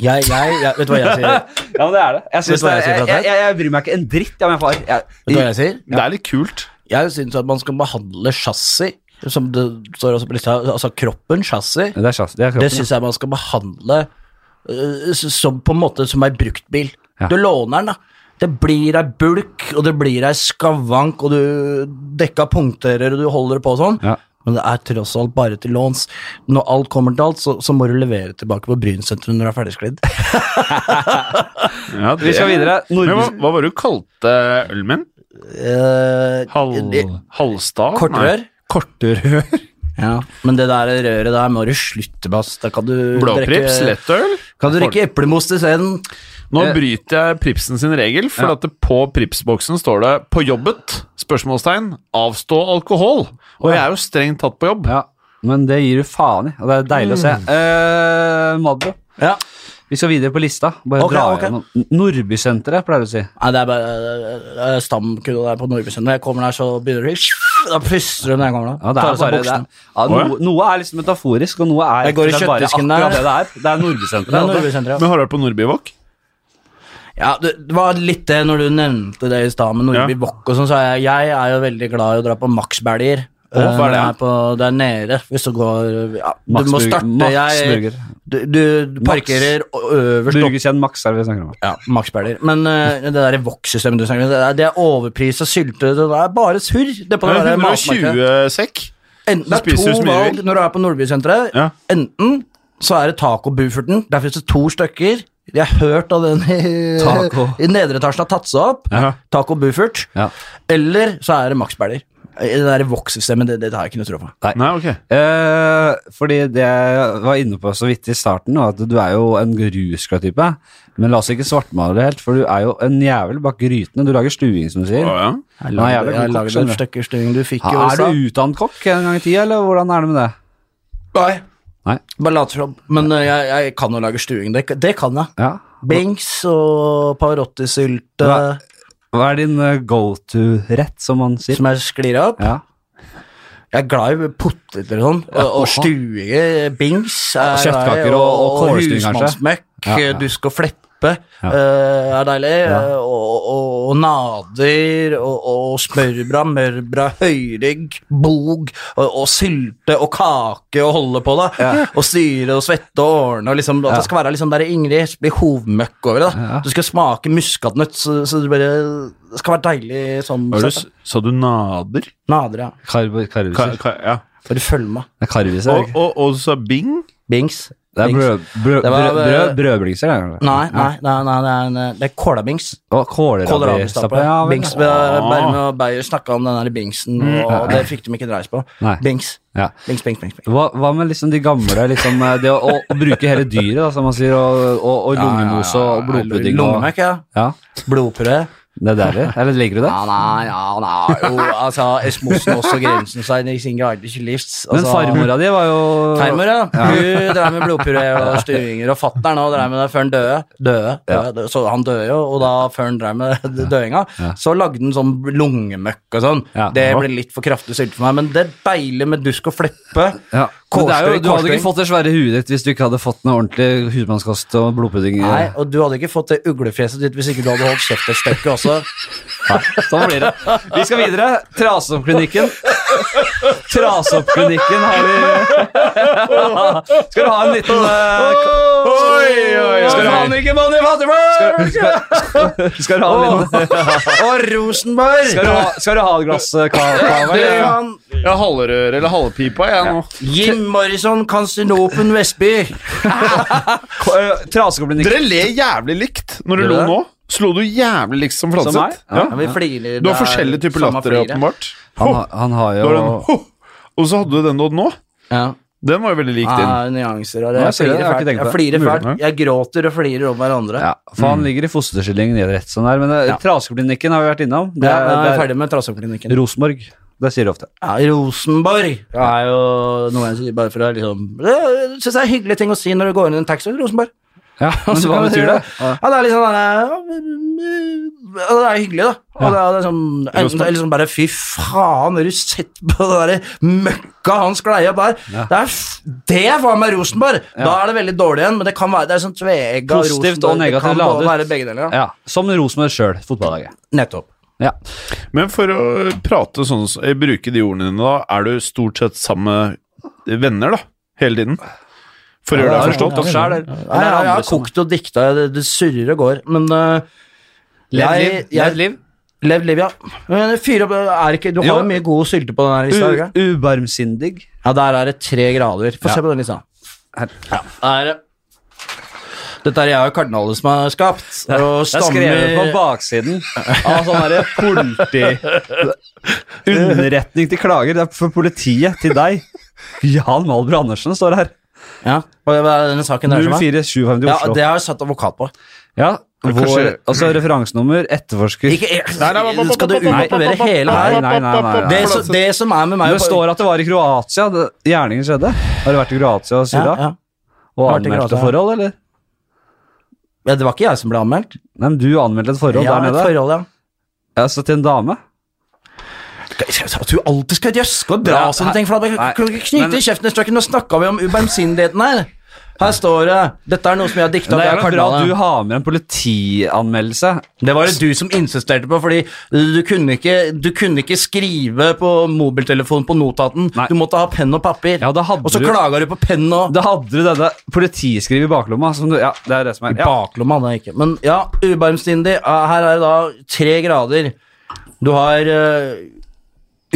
Speaker 2: Jeg, jeg, jeg, vet du hva jeg sier?
Speaker 1: Ja, men det er det. Jeg, synes
Speaker 2: Vet du hva
Speaker 1: det,
Speaker 2: jeg sier
Speaker 1: jeg,
Speaker 2: for
Speaker 1: jeg,
Speaker 2: at det
Speaker 1: jeg, jeg bryr meg ikke en dritt om jeg får arr.
Speaker 2: Vet du hva
Speaker 1: Jeg-
Speaker 2: jeg sier?
Speaker 3: Det er litt kult.
Speaker 2: Jeg syns at man skal behandle chassis, som det står også på lista, altså kroppen, chassis.
Speaker 1: Det er sjass. Det er
Speaker 2: Det
Speaker 1: kroppen.
Speaker 2: syns jeg man skal behandle øh, s- som på en måte som ei bruktbil.
Speaker 1: Ja.
Speaker 2: Du låner den, da. Det blir ei bulk, og det blir ei skavank, og du dekka punkterer, og du holder på sånn.
Speaker 1: Ja.
Speaker 2: Men det er tross alt bare til låns. Når alt kommer til alt, så, så må du levere tilbake på Brynsenteret når du er ferdigsklidd.
Speaker 3: Ja, det-
Speaker 1: Vi skal videre.
Speaker 3: Men hva,
Speaker 1: Norges-
Speaker 3: hva var det du kalte ølen min?
Speaker 2: Eh,
Speaker 3: Hal,
Speaker 2: det-
Speaker 3: halvstav?
Speaker 2: Kortrør?
Speaker 3: Kortrør.
Speaker 2: Ja. Men det der røret der må du slutte med, ass. Da kan du
Speaker 3: Blåprips,
Speaker 2: drikke-
Speaker 3: lettøl.
Speaker 2: Kan du drikke eplemos til scenen?
Speaker 3: Nå
Speaker 1: Eh.
Speaker 3: bryter jeg Pripsen sin regel, for at det på Prips-boksen står det 'på jobbet'? spørsmålstegn, 'avstå alkohol'. Og jeg er jo strengt tatt på jobb.
Speaker 1: Ja, men det gir du faen i, og det er deilig å se. Uh, Madro,
Speaker 2: Ja.
Speaker 1: vi skal videre på lista. Bare
Speaker 2: Ok,
Speaker 1: dra
Speaker 2: ok.
Speaker 1: gjennom. Nordbysenteret, pleier du å si.
Speaker 2: Nei, det er bare øh, øh, stamkudda der på Norgesund. Når jeg kommer der, så begynner det Da puster du når jeg kommer der.
Speaker 1: Ja, det
Speaker 2: Tar
Speaker 1: er
Speaker 2: av seg
Speaker 1: bare, det
Speaker 2: buksene.
Speaker 1: er, ja,
Speaker 3: Å, ja.
Speaker 1: no, noe er liksom metaforisk, og noe er
Speaker 2: Jeg går i
Speaker 1: det er bare
Speaker 2: kjøttdisken
Speaker 1: akkurat
Speaker 2: der.
Speaker 1: Det det er, det er
Speaker 2: Det er
Speaker 1: Nordbysenteret. altså.
Speaker 2: Nordbysenteret, ja.
Speaker 3: Men har du vært på Nordbyvåg?
Speaker 2: Ja, det det var litt det når du nevnte det i stad med Nordby
Speaker 3: Ja.
Speaker 2: Wok og sånn, så er jeg, jeg er jo veldig glad i å dra på Maxberger. Eh,
Speaker 3: Å, hva er det?
Speaker 2: Der nede, hvis du går ja, Du må
Speaker 1: Maxburger-
Speaker 2: starte jeg,
Speaker 1: Maxburger.
Speaker 2: du, du, du parkerer øverst opp
Speaker 1: Burgerkjeden Max er det vi snakker om.
Speaker 2: Ja, maksperler. Men eh, det der wok-systemet du snakker om, det er, det er overpris og sylte, det er bare surr. Det er på det der matmarkedet.
Speaker 3: 120 sekk.
Speaker 2: Enten det er
Speaker 3: spiser du så
Speaker 2: to
Speaker 3: mye du
Speaker 2: valg
Speaker 3: vil.
Speaker 2: når du er på Nordbysenteret.
Speaker 3: Ja.
Speaker 2: Enten så er det tacobufferten, der finnes det to stykker. Jeg har hørt at den i,
Speaker 1: Taco.
Speaker 2: i nedre etasjen har tatt seg opp.
Speaker 3: Ja.
Speaker 2: Taco buffert.
Speaker 1: Ja.
Speaker 2: Eller så er det maksperler. Det der wok-systemet, det, det har jeg ikke noe tro på.
Speaker 3: Nei, ok.
Speaker 1: Eh, fordi det jeg var inne på så vidt i starten, var at du er jo en ruskla type. Men la oss ikke svartmale det helt, for du er jo en jævel bak grytene. Du lager stuing, som du
Speaker 3: Å,
Speaker 1: sier.
Speaker 3: ja.
Speaker 1: Jeg lager-
Speaker 2: jeg
Speaker 1: jeg lager
Speaker 2: lager
Speaker 1: den
Speaker 2: den stykkerstuen du fikk i
Speaker 1: Ha, er
Speaker 2: USA.
Speaker 1: du utdannet kokk en gang i tida, eller hvordan er det med det?
Speaker 2: Nei.
Speaker 1: Nei.
Speaker 2: Bare later som. Men eh, jeg, jeg kan jo lage stuing. Det, det kan jeg.
Speaker 1: Ja.
Speaker 2: Bings og Pavarotti-sylte
Speaker 1: Hva- Hva er din eh, go to-rett, som man sier?
Speaker 2: som jeg sklir opp.
Speaker 1: Ja.
Speaker 2: Jeg er glad i poteter og sånn, og, og stuinger, bings. er
Speaker 1: Og kjøttkaker
Speaker 2: glad i,
Speaker 1: og- og kålstuing, kanskje?
Speaker 2: husmannsmøkk,
Speaker 1: Ja, ja.
Speaker 2: dusk og flette suppe eh, er deilig. eh, Og, og, og nader og, og smørbrad, mørbrad, høyrygg, bog og, og sylte og kake og holde på, da. Og styre og svette og ordne og liksom At det skal være liksom der Ingrid blir hovmøkk over det. da Du skal smake muskatnøtt, så, så du bare Det skal være deilig sånn.
Speaker 3: Hva er det du
Speaker 2: sett,
Speaker 3: s- Sa du nader?
Speaker 2: da. Nader, ja.
Speaker 1: Karv, karviser.
Speaker 3: Ka, ka, ja.
Speaker 2: Bare følg med.
Speaker 1: Det er karviser.
Speaker 3: Og, og, og du sa bing?
Speaker 2: Bings.
Speaker 1: det er
Speaker 2: Bings.
Speaker 1: brød, brød,
Speaker 2: Det var-
Speaker 1: brød, brød, brødblingser, det er det.
Speaker 2: Nei, nei, nei, nei, det er, en- eh, det er kålabings.
Speaker 1: Og kålrabistappe.
Speaker 2: Kålrabistappe.
Speaker 1: Ja, vel. Mm.
Speaker 2: Bings, Berme og Beyer snakka om den der Bingsen, og det fikk de ikke dreis på.
Speaker 1: Nei.
Speaker 2: Bings.
Speaker 1: Ja.
Speaker 2: Bings, Bings, Bings. Bings.
Speaker 1: Hva, hva med liksom de gamle liksom, eh, Det å, å, å bruke hele dyret, da, som man sier, og, og, og lungemos og, og blodpudding. og-
Speaker 2: Lommeøk, ja.
Speaker 1: Ja,
Speaker 2: Blodpuré.
Speaker 1: det er deilig. Eller liker du det?
Speaker 2: Ja, nei, ja, nei. Jo, altså, Esmosen også grensen seg i sin guide til livs.
Speaker 1: Men
Speaker 2: Altså,
Speaker 1: farmora di var jo
Speaker 2: Farmor, ja. Hun drev med blodpuré og sturinger, og fatter'n òg drev med det før han døde. døde, døde. Så han døde jo, og da før han drev med døinga, så lagde han sånn lungemøkk og sånn.
Speaker 1: Ja.
Speaker 2: Det ble litt for kraftig sylte for meg, men det er deilig med dusk og fleppe.
Speaker 1: Ja. Men det er jo,
Speaker 2: Kårstøy,
Speaker 1: du hadde
Speaker 2: kårstøy.
Speaker 1: ikke fått det svære huet ditt hvis du ikke hadde fått noe ordentlig husmannskost og blodpudding.
Speaker 2: Nei, og du hadde ikke fått det uglefjeset ditt hvis ikke du hadde holdt kjeft et stykke også.
Speaker 1: Sånn blir det. Vi skal videre. Traseoppklinikken. Traseoppklinikken har vi Skal du ha en liten eh,
Speaker 3: Oi, oi,
Speaker 1: Skal du ha en
Speaker 2: ikke mann i fattigmann!
Speaker 1: k- Skal du ha en liten
Speaker 2: Og Rosenborg!
Speaker 1: Skal du ha, skal du ha et glass eh, ka- kava?
Speaker 2: Du,
Speaker 1: eller?
Speaker 2: han,
Speaker 3: Ja, halvrør eller halvpipa, jeg nå.
Speaker 2: Jim Morrison, Konstinopen Vestby.
Speaker 1: K- eh, Traseoppklinikken.
Speaker 3: Dere ler jævlig likt når
Speaker 2: Gjør
Speaker 3: dere lo
Speaker 2: det?
Speaker 3: nå. Slo du jævlig likt som
Speaker 1: Som meg?
Speaker 3: Fladseth?
Speaker 1: Ja.
Speaker 2: Ja, vi flirer.
Speaker 3: Du har
Speaker 2: det er
Speaker 3: forskjellige typer
Speaker 2: samme
Speaker 3: latter,
Speaker 2: flire.
Speaker 3: åpenbart.
Speaker 1: Han, har- han har
Speaker 3: Du
Speaker 1: jo
Speaker 3: har den, ho, og så hadde du den du hadde nå.
Speaker 2: Ja.
Speaker 3: Den var jo veldig lik din.
Speaker 2: Ah, nyanser av det.
Speaker 1: Nei,
Speaker 2: Jeg
Speaker 1: jeg ser det,
Speaker 2: flirer
Speaker 1: jeg har ikke
Speaker 2: fælt.
Speaker 1: tenkt på
Speaker 2: Jeg
Speaker 1: det.
Speaker 2: flirer
Speaker 1: Mulig,
Speaker 2: fælt. Jeg gråter og flirer om hverandre.
Speaker 1: ja, for han ligger i fosterstillingen nede rett sånn der. Men eh, Traseklinikken har vi vært innom. Det
Speaker 2: Ja,
Speaker 1: er,
Speaker 2: da er vi
Speaker 1: det
Speaker 2: ferdig med
Speaker 1: er
Speaker 2: Traseoppklinikken.
Speaker 1: Rosenborg. Det sier de ofte.
Speaker 2: Ja, Rosenborg Det er jo noe jeg sier bare for å liksom Det syns jeg er en hyggelig ting å si når du går inn i en taxi. Rosenborg.
Speaker 1: Ja, men
Speaker 2: Så
Speaker 1: hva
Speaker 2: kan du si
Speaker 1: betyr det?
Speaker 2: Ja, det er liksom sånn eh, ja, Det er hyggelig, da. Og det er liksom, enten det er liksom bare Fy faen, har du sett på det derre møkka han sklei opp der? Det er f- det var med Rosenborg! Da er det veldig dårlig igjen, men det kan være det er sånn tvega
Speaker 1: Positivt og negativt
Speaker 2: Det kan både
Speaker 1: ladet.
Speaker 2: være begge deler, ja.
Speaker 1: Ja, Som Rosenborg sjøl, fotballaget.
Speaker 2: Nettopp.
Speaker 1: Ja.
Speaker 3: Men for å prate sånn, som- eh, bruke de ordene dine, da, er du stort sett sammen med venner, da? Hele tiden? For å gjøre deg forstått?
Speaker 1: Opp
Speaker 3: da.
Speaker 1: selv, eller?
Speaker 2: Nei, jeg, jeg har kokt og dikta, det, det surrer og går, men eh,
Speaker 1: Levd
Speaker 2: jeg-
Speaker 1: liv.
Speaker 2: jeg-
Speaker 1: Levd liv.
Speaker 2: Lev liv, ja. Men fyr opp er ikke, Du har
Speaker 1: Jo.
Speaker 2: jo mye god sylte på den her
Speaker 3: Mm.
Speaker 2: lista? har du ikke?
Speaker 1: U- Ubarmsindig.
Speaker 2: Ja, der er det tre grader. Få se på den lista.
Speaker 1: Her.
Speaker 2: Ja, der er det. Dette er jeg og kardinalen som har skapt. Og
Speaker 1: Det er skrevet på
Speaker 2: stammer
Speaker 1: baksiden av sånn derre politi... Underretning til klager. Det er for politiet til deg. Jan Malbro Andersen står her.
Speaker 2: ja, og Hva er denne saken der som er?
Speaker 1: 04750
Speaker 2: Ja,
Speaker 1: Oslo.
Speaker 2: det har jeg satt advokat på.
Speaker 1: Ja, vår,
Speaker 3: Kanskje-
Speaker 1: altså referansenummer, etterforsker
Speaker 2: Ikke,
Speaker 3: Nei, nei, nei,
Speaker 2: skal du utlevere hele
Speaker 1: Nei,
Speaker 2: her?
Speaker 1: nei, nei, nei, nei.
Speaker 2: Det, som- det som er med meg
Speaker 1: Det står at det var i Kroatia det- gjerningen skjedde. Har du vært i Kroatia og
Speaker 2: ja,
Speaker 1: Syria?
Speaker 2: ja.
Speaker 1: Og
Speaker 2: Vært i
Speaker 1: anmeldte
Speaker 2: Kroatia.
Speaker 1: forhold, eller?
Speaker 2: ja, Det var ikke jeg som ble anmeldt.
Speaker 1: Nei, men du anmeldte et forhold
Speaker 2: ja,
Speaker 1: der
Speaker 2: et
Speaker 1: nede.
Speaker 2: forhold, ja.
Speaker 1: Altså til en dame.
Speaker 2: At du alltid skal røske og dra
Speaker 1: Ja, nei,
Speaker 2: sånne ting. For da
Speaker 1: nei,
Speaker 2: kan du ikke knyte i kjeften i strøkken. Nå snakka vi om ubarmsindigheten her. Her står det Dette er noe som jeg har dikta.
Speaker 1: Det er vel bra at du har med en politianmeldelse.
Speaker 2: Det var det du som insisterte på, fordi du kunne ikke, du kunne ikke skrive på mobiltelefonen på notaten.
Speaker 1: Nei.
Speaker 2: Du måtte ha penn og papir.
Speaker 1: Ja, da hadde
Speaker 2: og så
Speaker 1: du-
Speaker 2: klaga du på penn og
Speaker 1: Da hadde du denne politiskrivet i baklomma. Som du, ja, det er det som er ja.
Speaker 2: Baklomma hadde jeg ikke. Men ja, ubarmstindig. Ja, Her er det da tre grader. Du har uh,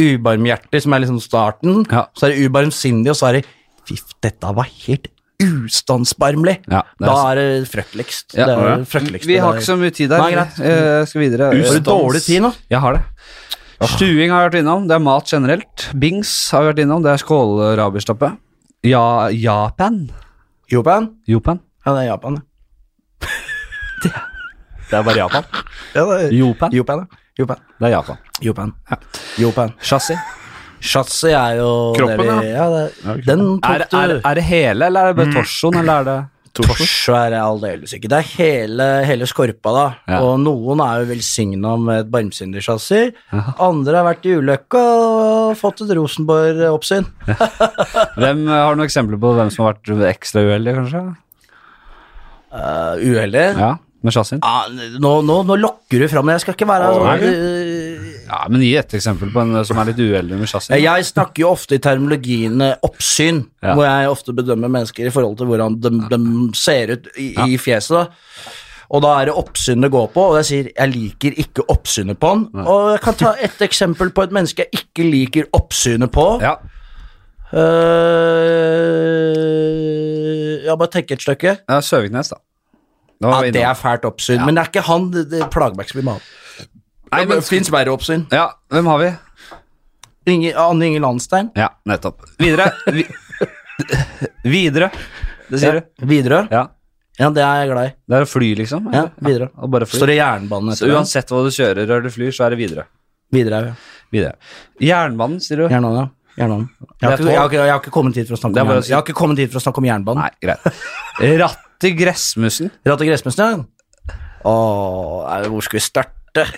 Speaker 2: ubarmhjertig, som er liksom starten.
Speaker 1: Ja.
Speaker 2: Så er det ubarmsindig, og så er det Fy, dette var helt ustansbarmelig.
Speaker 1: Ja, det er altså-
Speaker 2: da er det frøkkeligst.
Speaker 1: Ja.
Speaker 2: det er
Speaker 1: Ja.
Speaker 2: det frøkkeligste
Speaker 1: Vi
Speaker 2: det
Speaker 1: har
Speaker 2: er.
Speaker 1: ikke så mye tid her.
Speaker 2: Nei, greit.
Speaker 1: Eh, skal videre.
Speaker 2: Har du dårlig tid nå?
Speaker 1: Jeg har det. Stuing har jeg vært innom. Det er mat generelt. Bings har jeg vært innom. Det er skålrabistappe. Ja, Japan.
Speaker 2: Japan?
Speaker 1: Jopan.
Speaker 2: Ja, det er Japan, ja.
Speaker 1: Det er bare Japan.
Speaker 2: ja det er...
Speaker 1: Jopan.
Speaker 2: Japan, ja. Japan.
Speaker 1: Det er Japan.
Speaker 2: Jopan. Jopan.
Speaker 1: Chassis.
Speaker 2: Chassis er jo
Speaker 3: Kroppen,
Speaker 2: det vi, ja. det, den
Speaker 1: Er,
Speaker 2: tok
Speaker 1: er,
Speaker 2: du.
Speaker 1: er det hele, eller er det bare torsoen, eller er det
Speaker 2: Torso er jeg aldeles ikke. Det er hele, hele skorpa, da.
Speaker 1: Ja.
Speaker 2: Og noen er jo velsigna med et barmsyndig chassis. Andre har vært i ulykka og fått et Rosenborg-oppsyn.
Speaker 1: Hvem eh, Har du noen eksempler på hvem som har vært ekstra uheldig, kanskje?
Speaker 2: Eh, uheldig.
Speaker 1: Ja. med chassien?
Speaker 2: Ja, nå, nå, nå lokker du fram, jeg skal ikke være
Speaker 3: Å,
Speaker 2: sånn øh,
Speaker 1: Ja, men gi et eksempel på en eh, som er litt uheldig med chassien.
Speaker 2: Eh, Jeg snakker jo ofte i termologien eh, oppsyn,
Speaker 1: Ja.
Speaker 2: hvor jeg ofte bedømmer mennesker i forhold til hvordan de, de ser ut i, i fjeset. da. Og da er det oppsyn det går på, og jeg sier jeg liker ikke oppsynet på han. Og jeg kan ta et eksempel på et menneske jeg ikke liker oppsynet på. Eh,
Speaker 1: Ja.
Speaker 2: Øh, ja, bare tenk et stykke.
Speaker 1: Ja, eh, Søviknes, da. Nå
Speaker 2: Ja,
Speaker 1: var vi innom.
Speaker 2: det er fælt oppsyn, men det er ikke han det, det plager meg ikke så mye med han.
Speaker 1: Nei,
Speaker 2: Det
Speaker 1: men,
Speaker 2: fins verre oppsyn.
Speaker 1: ja, hvem har vi?
Speaker 2: Inge, Anne Inger Landstein.
Speaker 1: Ja, nettopp. Videre. Vi, videre. Det sier du?
Speaker 2: Widerøe.
Speaker 1: Ja.
Speaker 2: Ja, det er jeg glad i.
Speaker 1: Det er å fly, liksom?
Speaker 2: Ja, videre.
Speaker 1: og bare fly.
Speaker 2: Står det jernbanen
Speaker 1: Så
Speaker 2: etter det?
Speaker 1: uansett hva du kjører eller du flyr, så er det videre.
Speaker 2: Videre, ja.
Speaker 1: Videre. Jernbanen, sier du?
Speaker 2: Jernbanen, ja. Jernbanen. Jeg
Speaker 1: Det
Speaker 2: har,
Speaker 1: er
Speaker 2: ikke, jeg,
Speaker 1: tog.
Speaker 2: har ikke, jeg har ikke kommet hit for å snakke om
Speaker 1: Det er bare å
Speaker 2: jernbanen.
Speaker 1: si-
Speaker 2: Jeg har ikke kommet hit for å snakke om jernbanen.
Speaker 1: Nei, greit. Ratt i gressmussen.
Speaker 2: Ratt og gressmesteren? Åh, nei, hvor skal vi starte?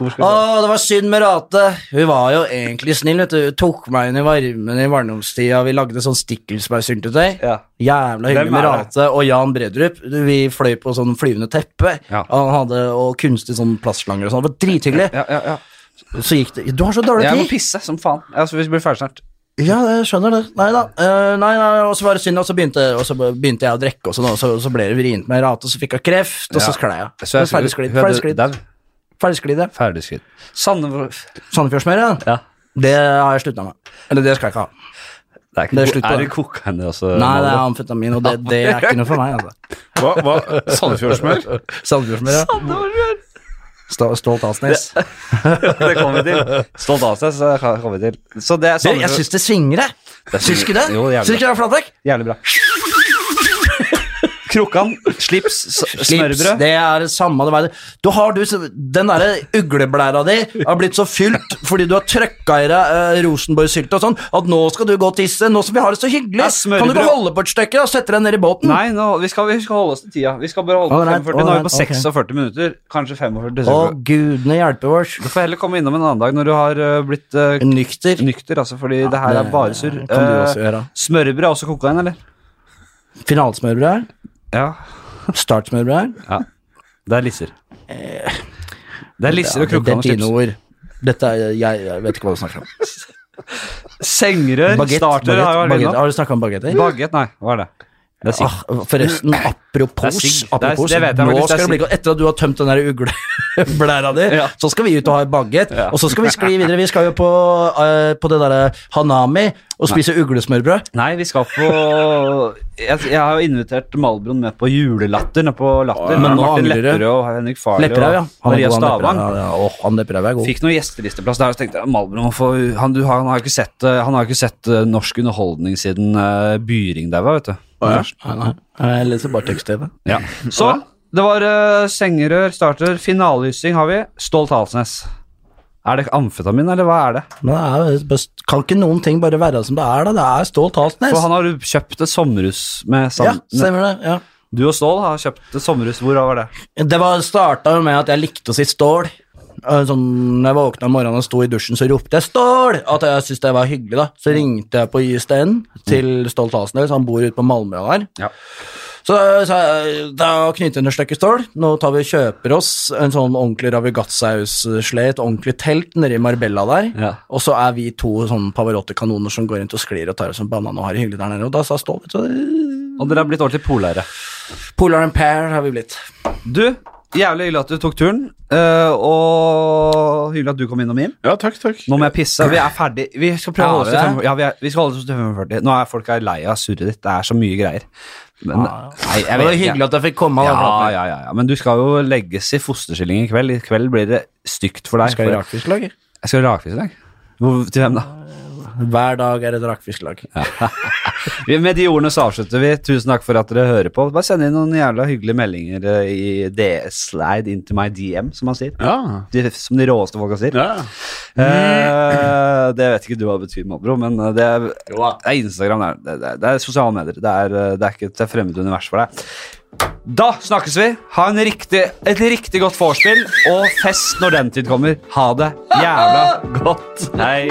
Speaker 2: Åh, det var synd med Rate. Hun var jo egentlig snill, vet du. Hun tok meg inn i varmen i varmdomstida. Vi lagde sånn stikkelsbærsyltetøy.
Speaker 1: Ja.
Speaker 2: Jævla hyggelig
Speaker 1: Hvem
Speaker 2: med
Speaker 1: er det?
Speaker 2: Rate og Jan Bredrup. Du, Vi fløy på sånn flyvende teppe.
Speaker 1: Ja.
Speaker 2: Og han hadde og kunstig sånn plastslanger og sånn. Det var drithyggelig.
Speaker 1: Ja, ja, ja.
Speaker 2: Så gikk det Du har så dårlig
Speaker 1: Jeg må
Speaker 2: tid!
Speaker 1: pisse som faen. Ja, så vi blir ferdig snart.
Speaker 2: Ja, jeg skjønner det. Nei da. Eh, nei, nei, og så var det synd, og så begynte, og så begynte jeg å drikke, og sånn, og så, så ble det vrient med rate, og så fikk jeg kreft, og
Speaker 1: Ja.
Speaker 2: så sklei jeg.
Speaker 1: Så jeg-
Speaker 2: Ferdig sklidd.
Speaker 1: hun hadde-
Speaker 2: Ferdig sklidd.
Speaker 1: der.
Speaker 2: Ferdig sklidd, ja.
Speaker 1: Ferdig sklidd. Sandefjord
Speaker 2: Sandefjordsmøret,
Speaker 1: Ja.
Speaker 2: det har jeg slutta med. Eller det skal jeg ikke ha.
Speaker 1: Det er, ikke,
Speaker 2: Det er slutt på
Speaker 1: er
Speaker 2: det.
Speaker 1: det kokain også?
Speaker 2: Nei, det er
Speaker 1: Mauro?
Speaker 2: amfetamin, og det, det er ikke noe for meg, altså.
Speaker 3: Hva, hva? Sandefjordsmør?
Speaker 2: Sandefjordsmøret. Stå- Stolt Asnes.
Speaker 1: det kommer vi til. Stolt av seg, så kommer vi til. Så det er
Speaker 2: Du, jeg
Speaker 1: Sandefjord-
Speaker 2: syns det svinger, jeg. Syns ikke det?
Speaker 1: Jo, jævlig.
Speaker 2: Syns ikke det er flattrekk?
Speaker 1: Jævlig bra. Krokkan, slips, s-
Speaker 2: Slips,
Speaker 1: smørbrød.
Speaker 2: det er det samme. Det var det. Du har, du, den derre ugleblæra di har blitt så fylt fordi du har trøkka i deg eh, Rosenborg-sylte og sånn, at nå skal du gå og tisse, nå som vi har det så hyggelig.
Speaker 1: Ja, smørbrød.
Speaker 2: kan du ikke holde på et stykke og sette deg ned i båten?
Speaker 1: Nei, nå, vi, skal, vi skal holde oss til tida. Vi skal bare holde på
Speaker 2: Alright,
Speaker 1: 45. Nå er vi på
Speaker 2: alright, ok.
Speaker 1: 46 minutter. Kanskje 45.
Speaker 2: Å,
Speaker 1: desember.
Speaker 2: gudene hjelpe oss.
Speaker 1: Du får heller komme innom en annen dag når du har øh, blitt øh,
Speaker 2: Nykter.
Speaker 1: nykter, altså, fordi det her er
Speaker 2: det
Speaker 1: bare surr.
Speaker 2: kan du også
Speaker 1: Eh,
Speaker 2: gjøre.
Speaker 1: smørbrød er også kokain, eller?
Speaker 2: Finalesmørbrød.
Speaker 1: Ja.
Speaker 2: Startsmørbrød.
Speaker 1: Det er lisser. Det er lisser og
Speaker 2: det
Speaker 1: krokkan
Speaker 2: er
Speaker 1: og slips.
Speaker 2: dine ord. Dette er, jeg, jeg vet ikke hva du snakker om.
Speaker 1: Sengrør,
Speaker 2: Baguette,
Speaker 1: starter har jeg
Speaker 2: baguette,
Speaker 1: vært
Speaker 2: baguette.
Speaker 1: innom.
Speaker 2: Har du snakka om bagetter?
Speaker 1: Baguette, nei. Hva er det? Det er sikkert.
Speaker 2: Ah, forresten, apropos,
Speaker 1: Det er sigg.
Speaker 2: apropos
Speaker 1: Det er- det vet jeg
Speaker 2: nå
Speaker 1: faktisk, det er
Speaker 2: skal det bli, Etter at du har tømt den der ugleblæra di,
Speaker 1: Ja.
Speaker 2: så skal vi ut og ha en baguett. Og så skal vi skli videre. Vi skal jo på, eh, på det derre Hanami og spise uglesmørbrød.
Speaker 1: Nei, vi skal på Jeg, jeg har jo invitert Malbron med på julelatter nede på Latter.
Speaker 2: Men nå
Speaker 1: Martin
Speaker 2: angrer du.
Speaker 1: Lepperød og Henrik Farley
Speaker 2: Lepperød, ja.
Speaker 1: og Maria
Speaker 2: god,
Speaker 1: Stavang.
Speaker 2: Lepperød, ja, ja. Åh, han Lepperød er god.
Speaker 1: Fikk noe gjestelisteplass der, og så tenkte jeg Malbron må få han, du, har- han har jo ikke sett eh, Han har jo ikke sett eh, norsk underholdning siden eh, Byring der, var, vet du.
Speaker 2: Nei, nei. Jeg leser bare tekst-TV.
Speaker 1: Ja. Så det var eh, sengerør, starter, finalelysing har vi. Stolt Halsnes. Er det amfetamin, eller hva er det?
Speaker 2: Men det er, jo best- kan ikke noen ting bare være som det er, da? Det er Stål Talsnes.
Speaker 1: For han har jo kjøpt et sommerhus med
Speaker 2: Ja,
Speaker 1: Sam...
Speaker 2: stemmer det. ja.
Speaker 1: du og Stål har kjøpt et sommerhus. Hvor var det?
Speaker 2: Det var starta jo med at jeg likte å si stål. Eh, Sånn, når jeg våkna om morgenen og sto i dusjen, så ropte jeg 'stål'! At jeg syntes det var hyggelig, da. Så ringte jeg på ISDN til Stolt Halsnes, han bor ute på Malmøya der.
Speaker 1: Ja.
Speaker 2: Så sa jeg da knytter under stykket stål. Nå tar vi og kjøper oss en sånn ordentlig ravigatsaussled, et ordentlig telt nede i Marbella der.
Speaker 1: Ja.
Speaker 2: Og så er vi to sånn Pavarotti-kanoner som går rundt og sklir og tar oss en banan og har det hyggelig der nede. Og da sa Stål vet du,
Speaker 1: Og dere har blitt ordentlig polare.
Speaker 2: Polar and pair har vi blitt.
Speaker 1: Du, jævlig hyggelig at du tok turen, eh, og hyggelig at du kom innom Jim.
Speaker 3: Ja, takk, takk.
Speaker 1: Nå må jeg pisse. Vi er ferdig. Vi skal prøve
Speaker 2: Er
Speaker 1: å holde oss til
Speaker 2: vi det?
Speaker 1: 45. Ja, vi, er, vi skal holde oss til 45. Nå er folk her lei av surret ditt. Det er så mye greier.
Speaker 2: Ah,
Speaker 1: Men, nei, jeg
Speaker 2: Det var
Speaker 1: vet ikke.
Speaker 2: hyggelig at jeg fikk komme.
Speaker 1: Ja,
Speaker 2: da, praten.
Speaker 1: ja, ja, ja. Men du skal jo legges i fosterstilling i kveld. I kveld blir det stygt for deg.
Speaker 2: Skal i
Speaker 1: For-
Speaker 2: rakfisklager.
Speaker 1: Jeg skal i rakfisk i dag. Hvor, til hvem da?
Speaker 2: Hver dag er et rakfisklag.
Speaker 1: Vi- Med de ordene så avslutter vi. Tusen takk for at dere hører på. Bare send inn noen jævla hyggelige meldinger eh, i DS-slide into my DM, som man sier.
Speaker 3: Ja.
Speaker 1: De, som de råeste folka sier.
Speaker 3: Ja.
Speaker 1: Eh, det vet ikke du hva det betyr, Mabro, men eh, det er, det er Instagram, det er, det er, det er sosiale medier. Det er, eh, det er ikke et fremmed univers for deg. Da snakkes vi. Ha en riktig, et riktig godt vorspiel, og fest når den tid kommer. Ha det jævla godt. Hei.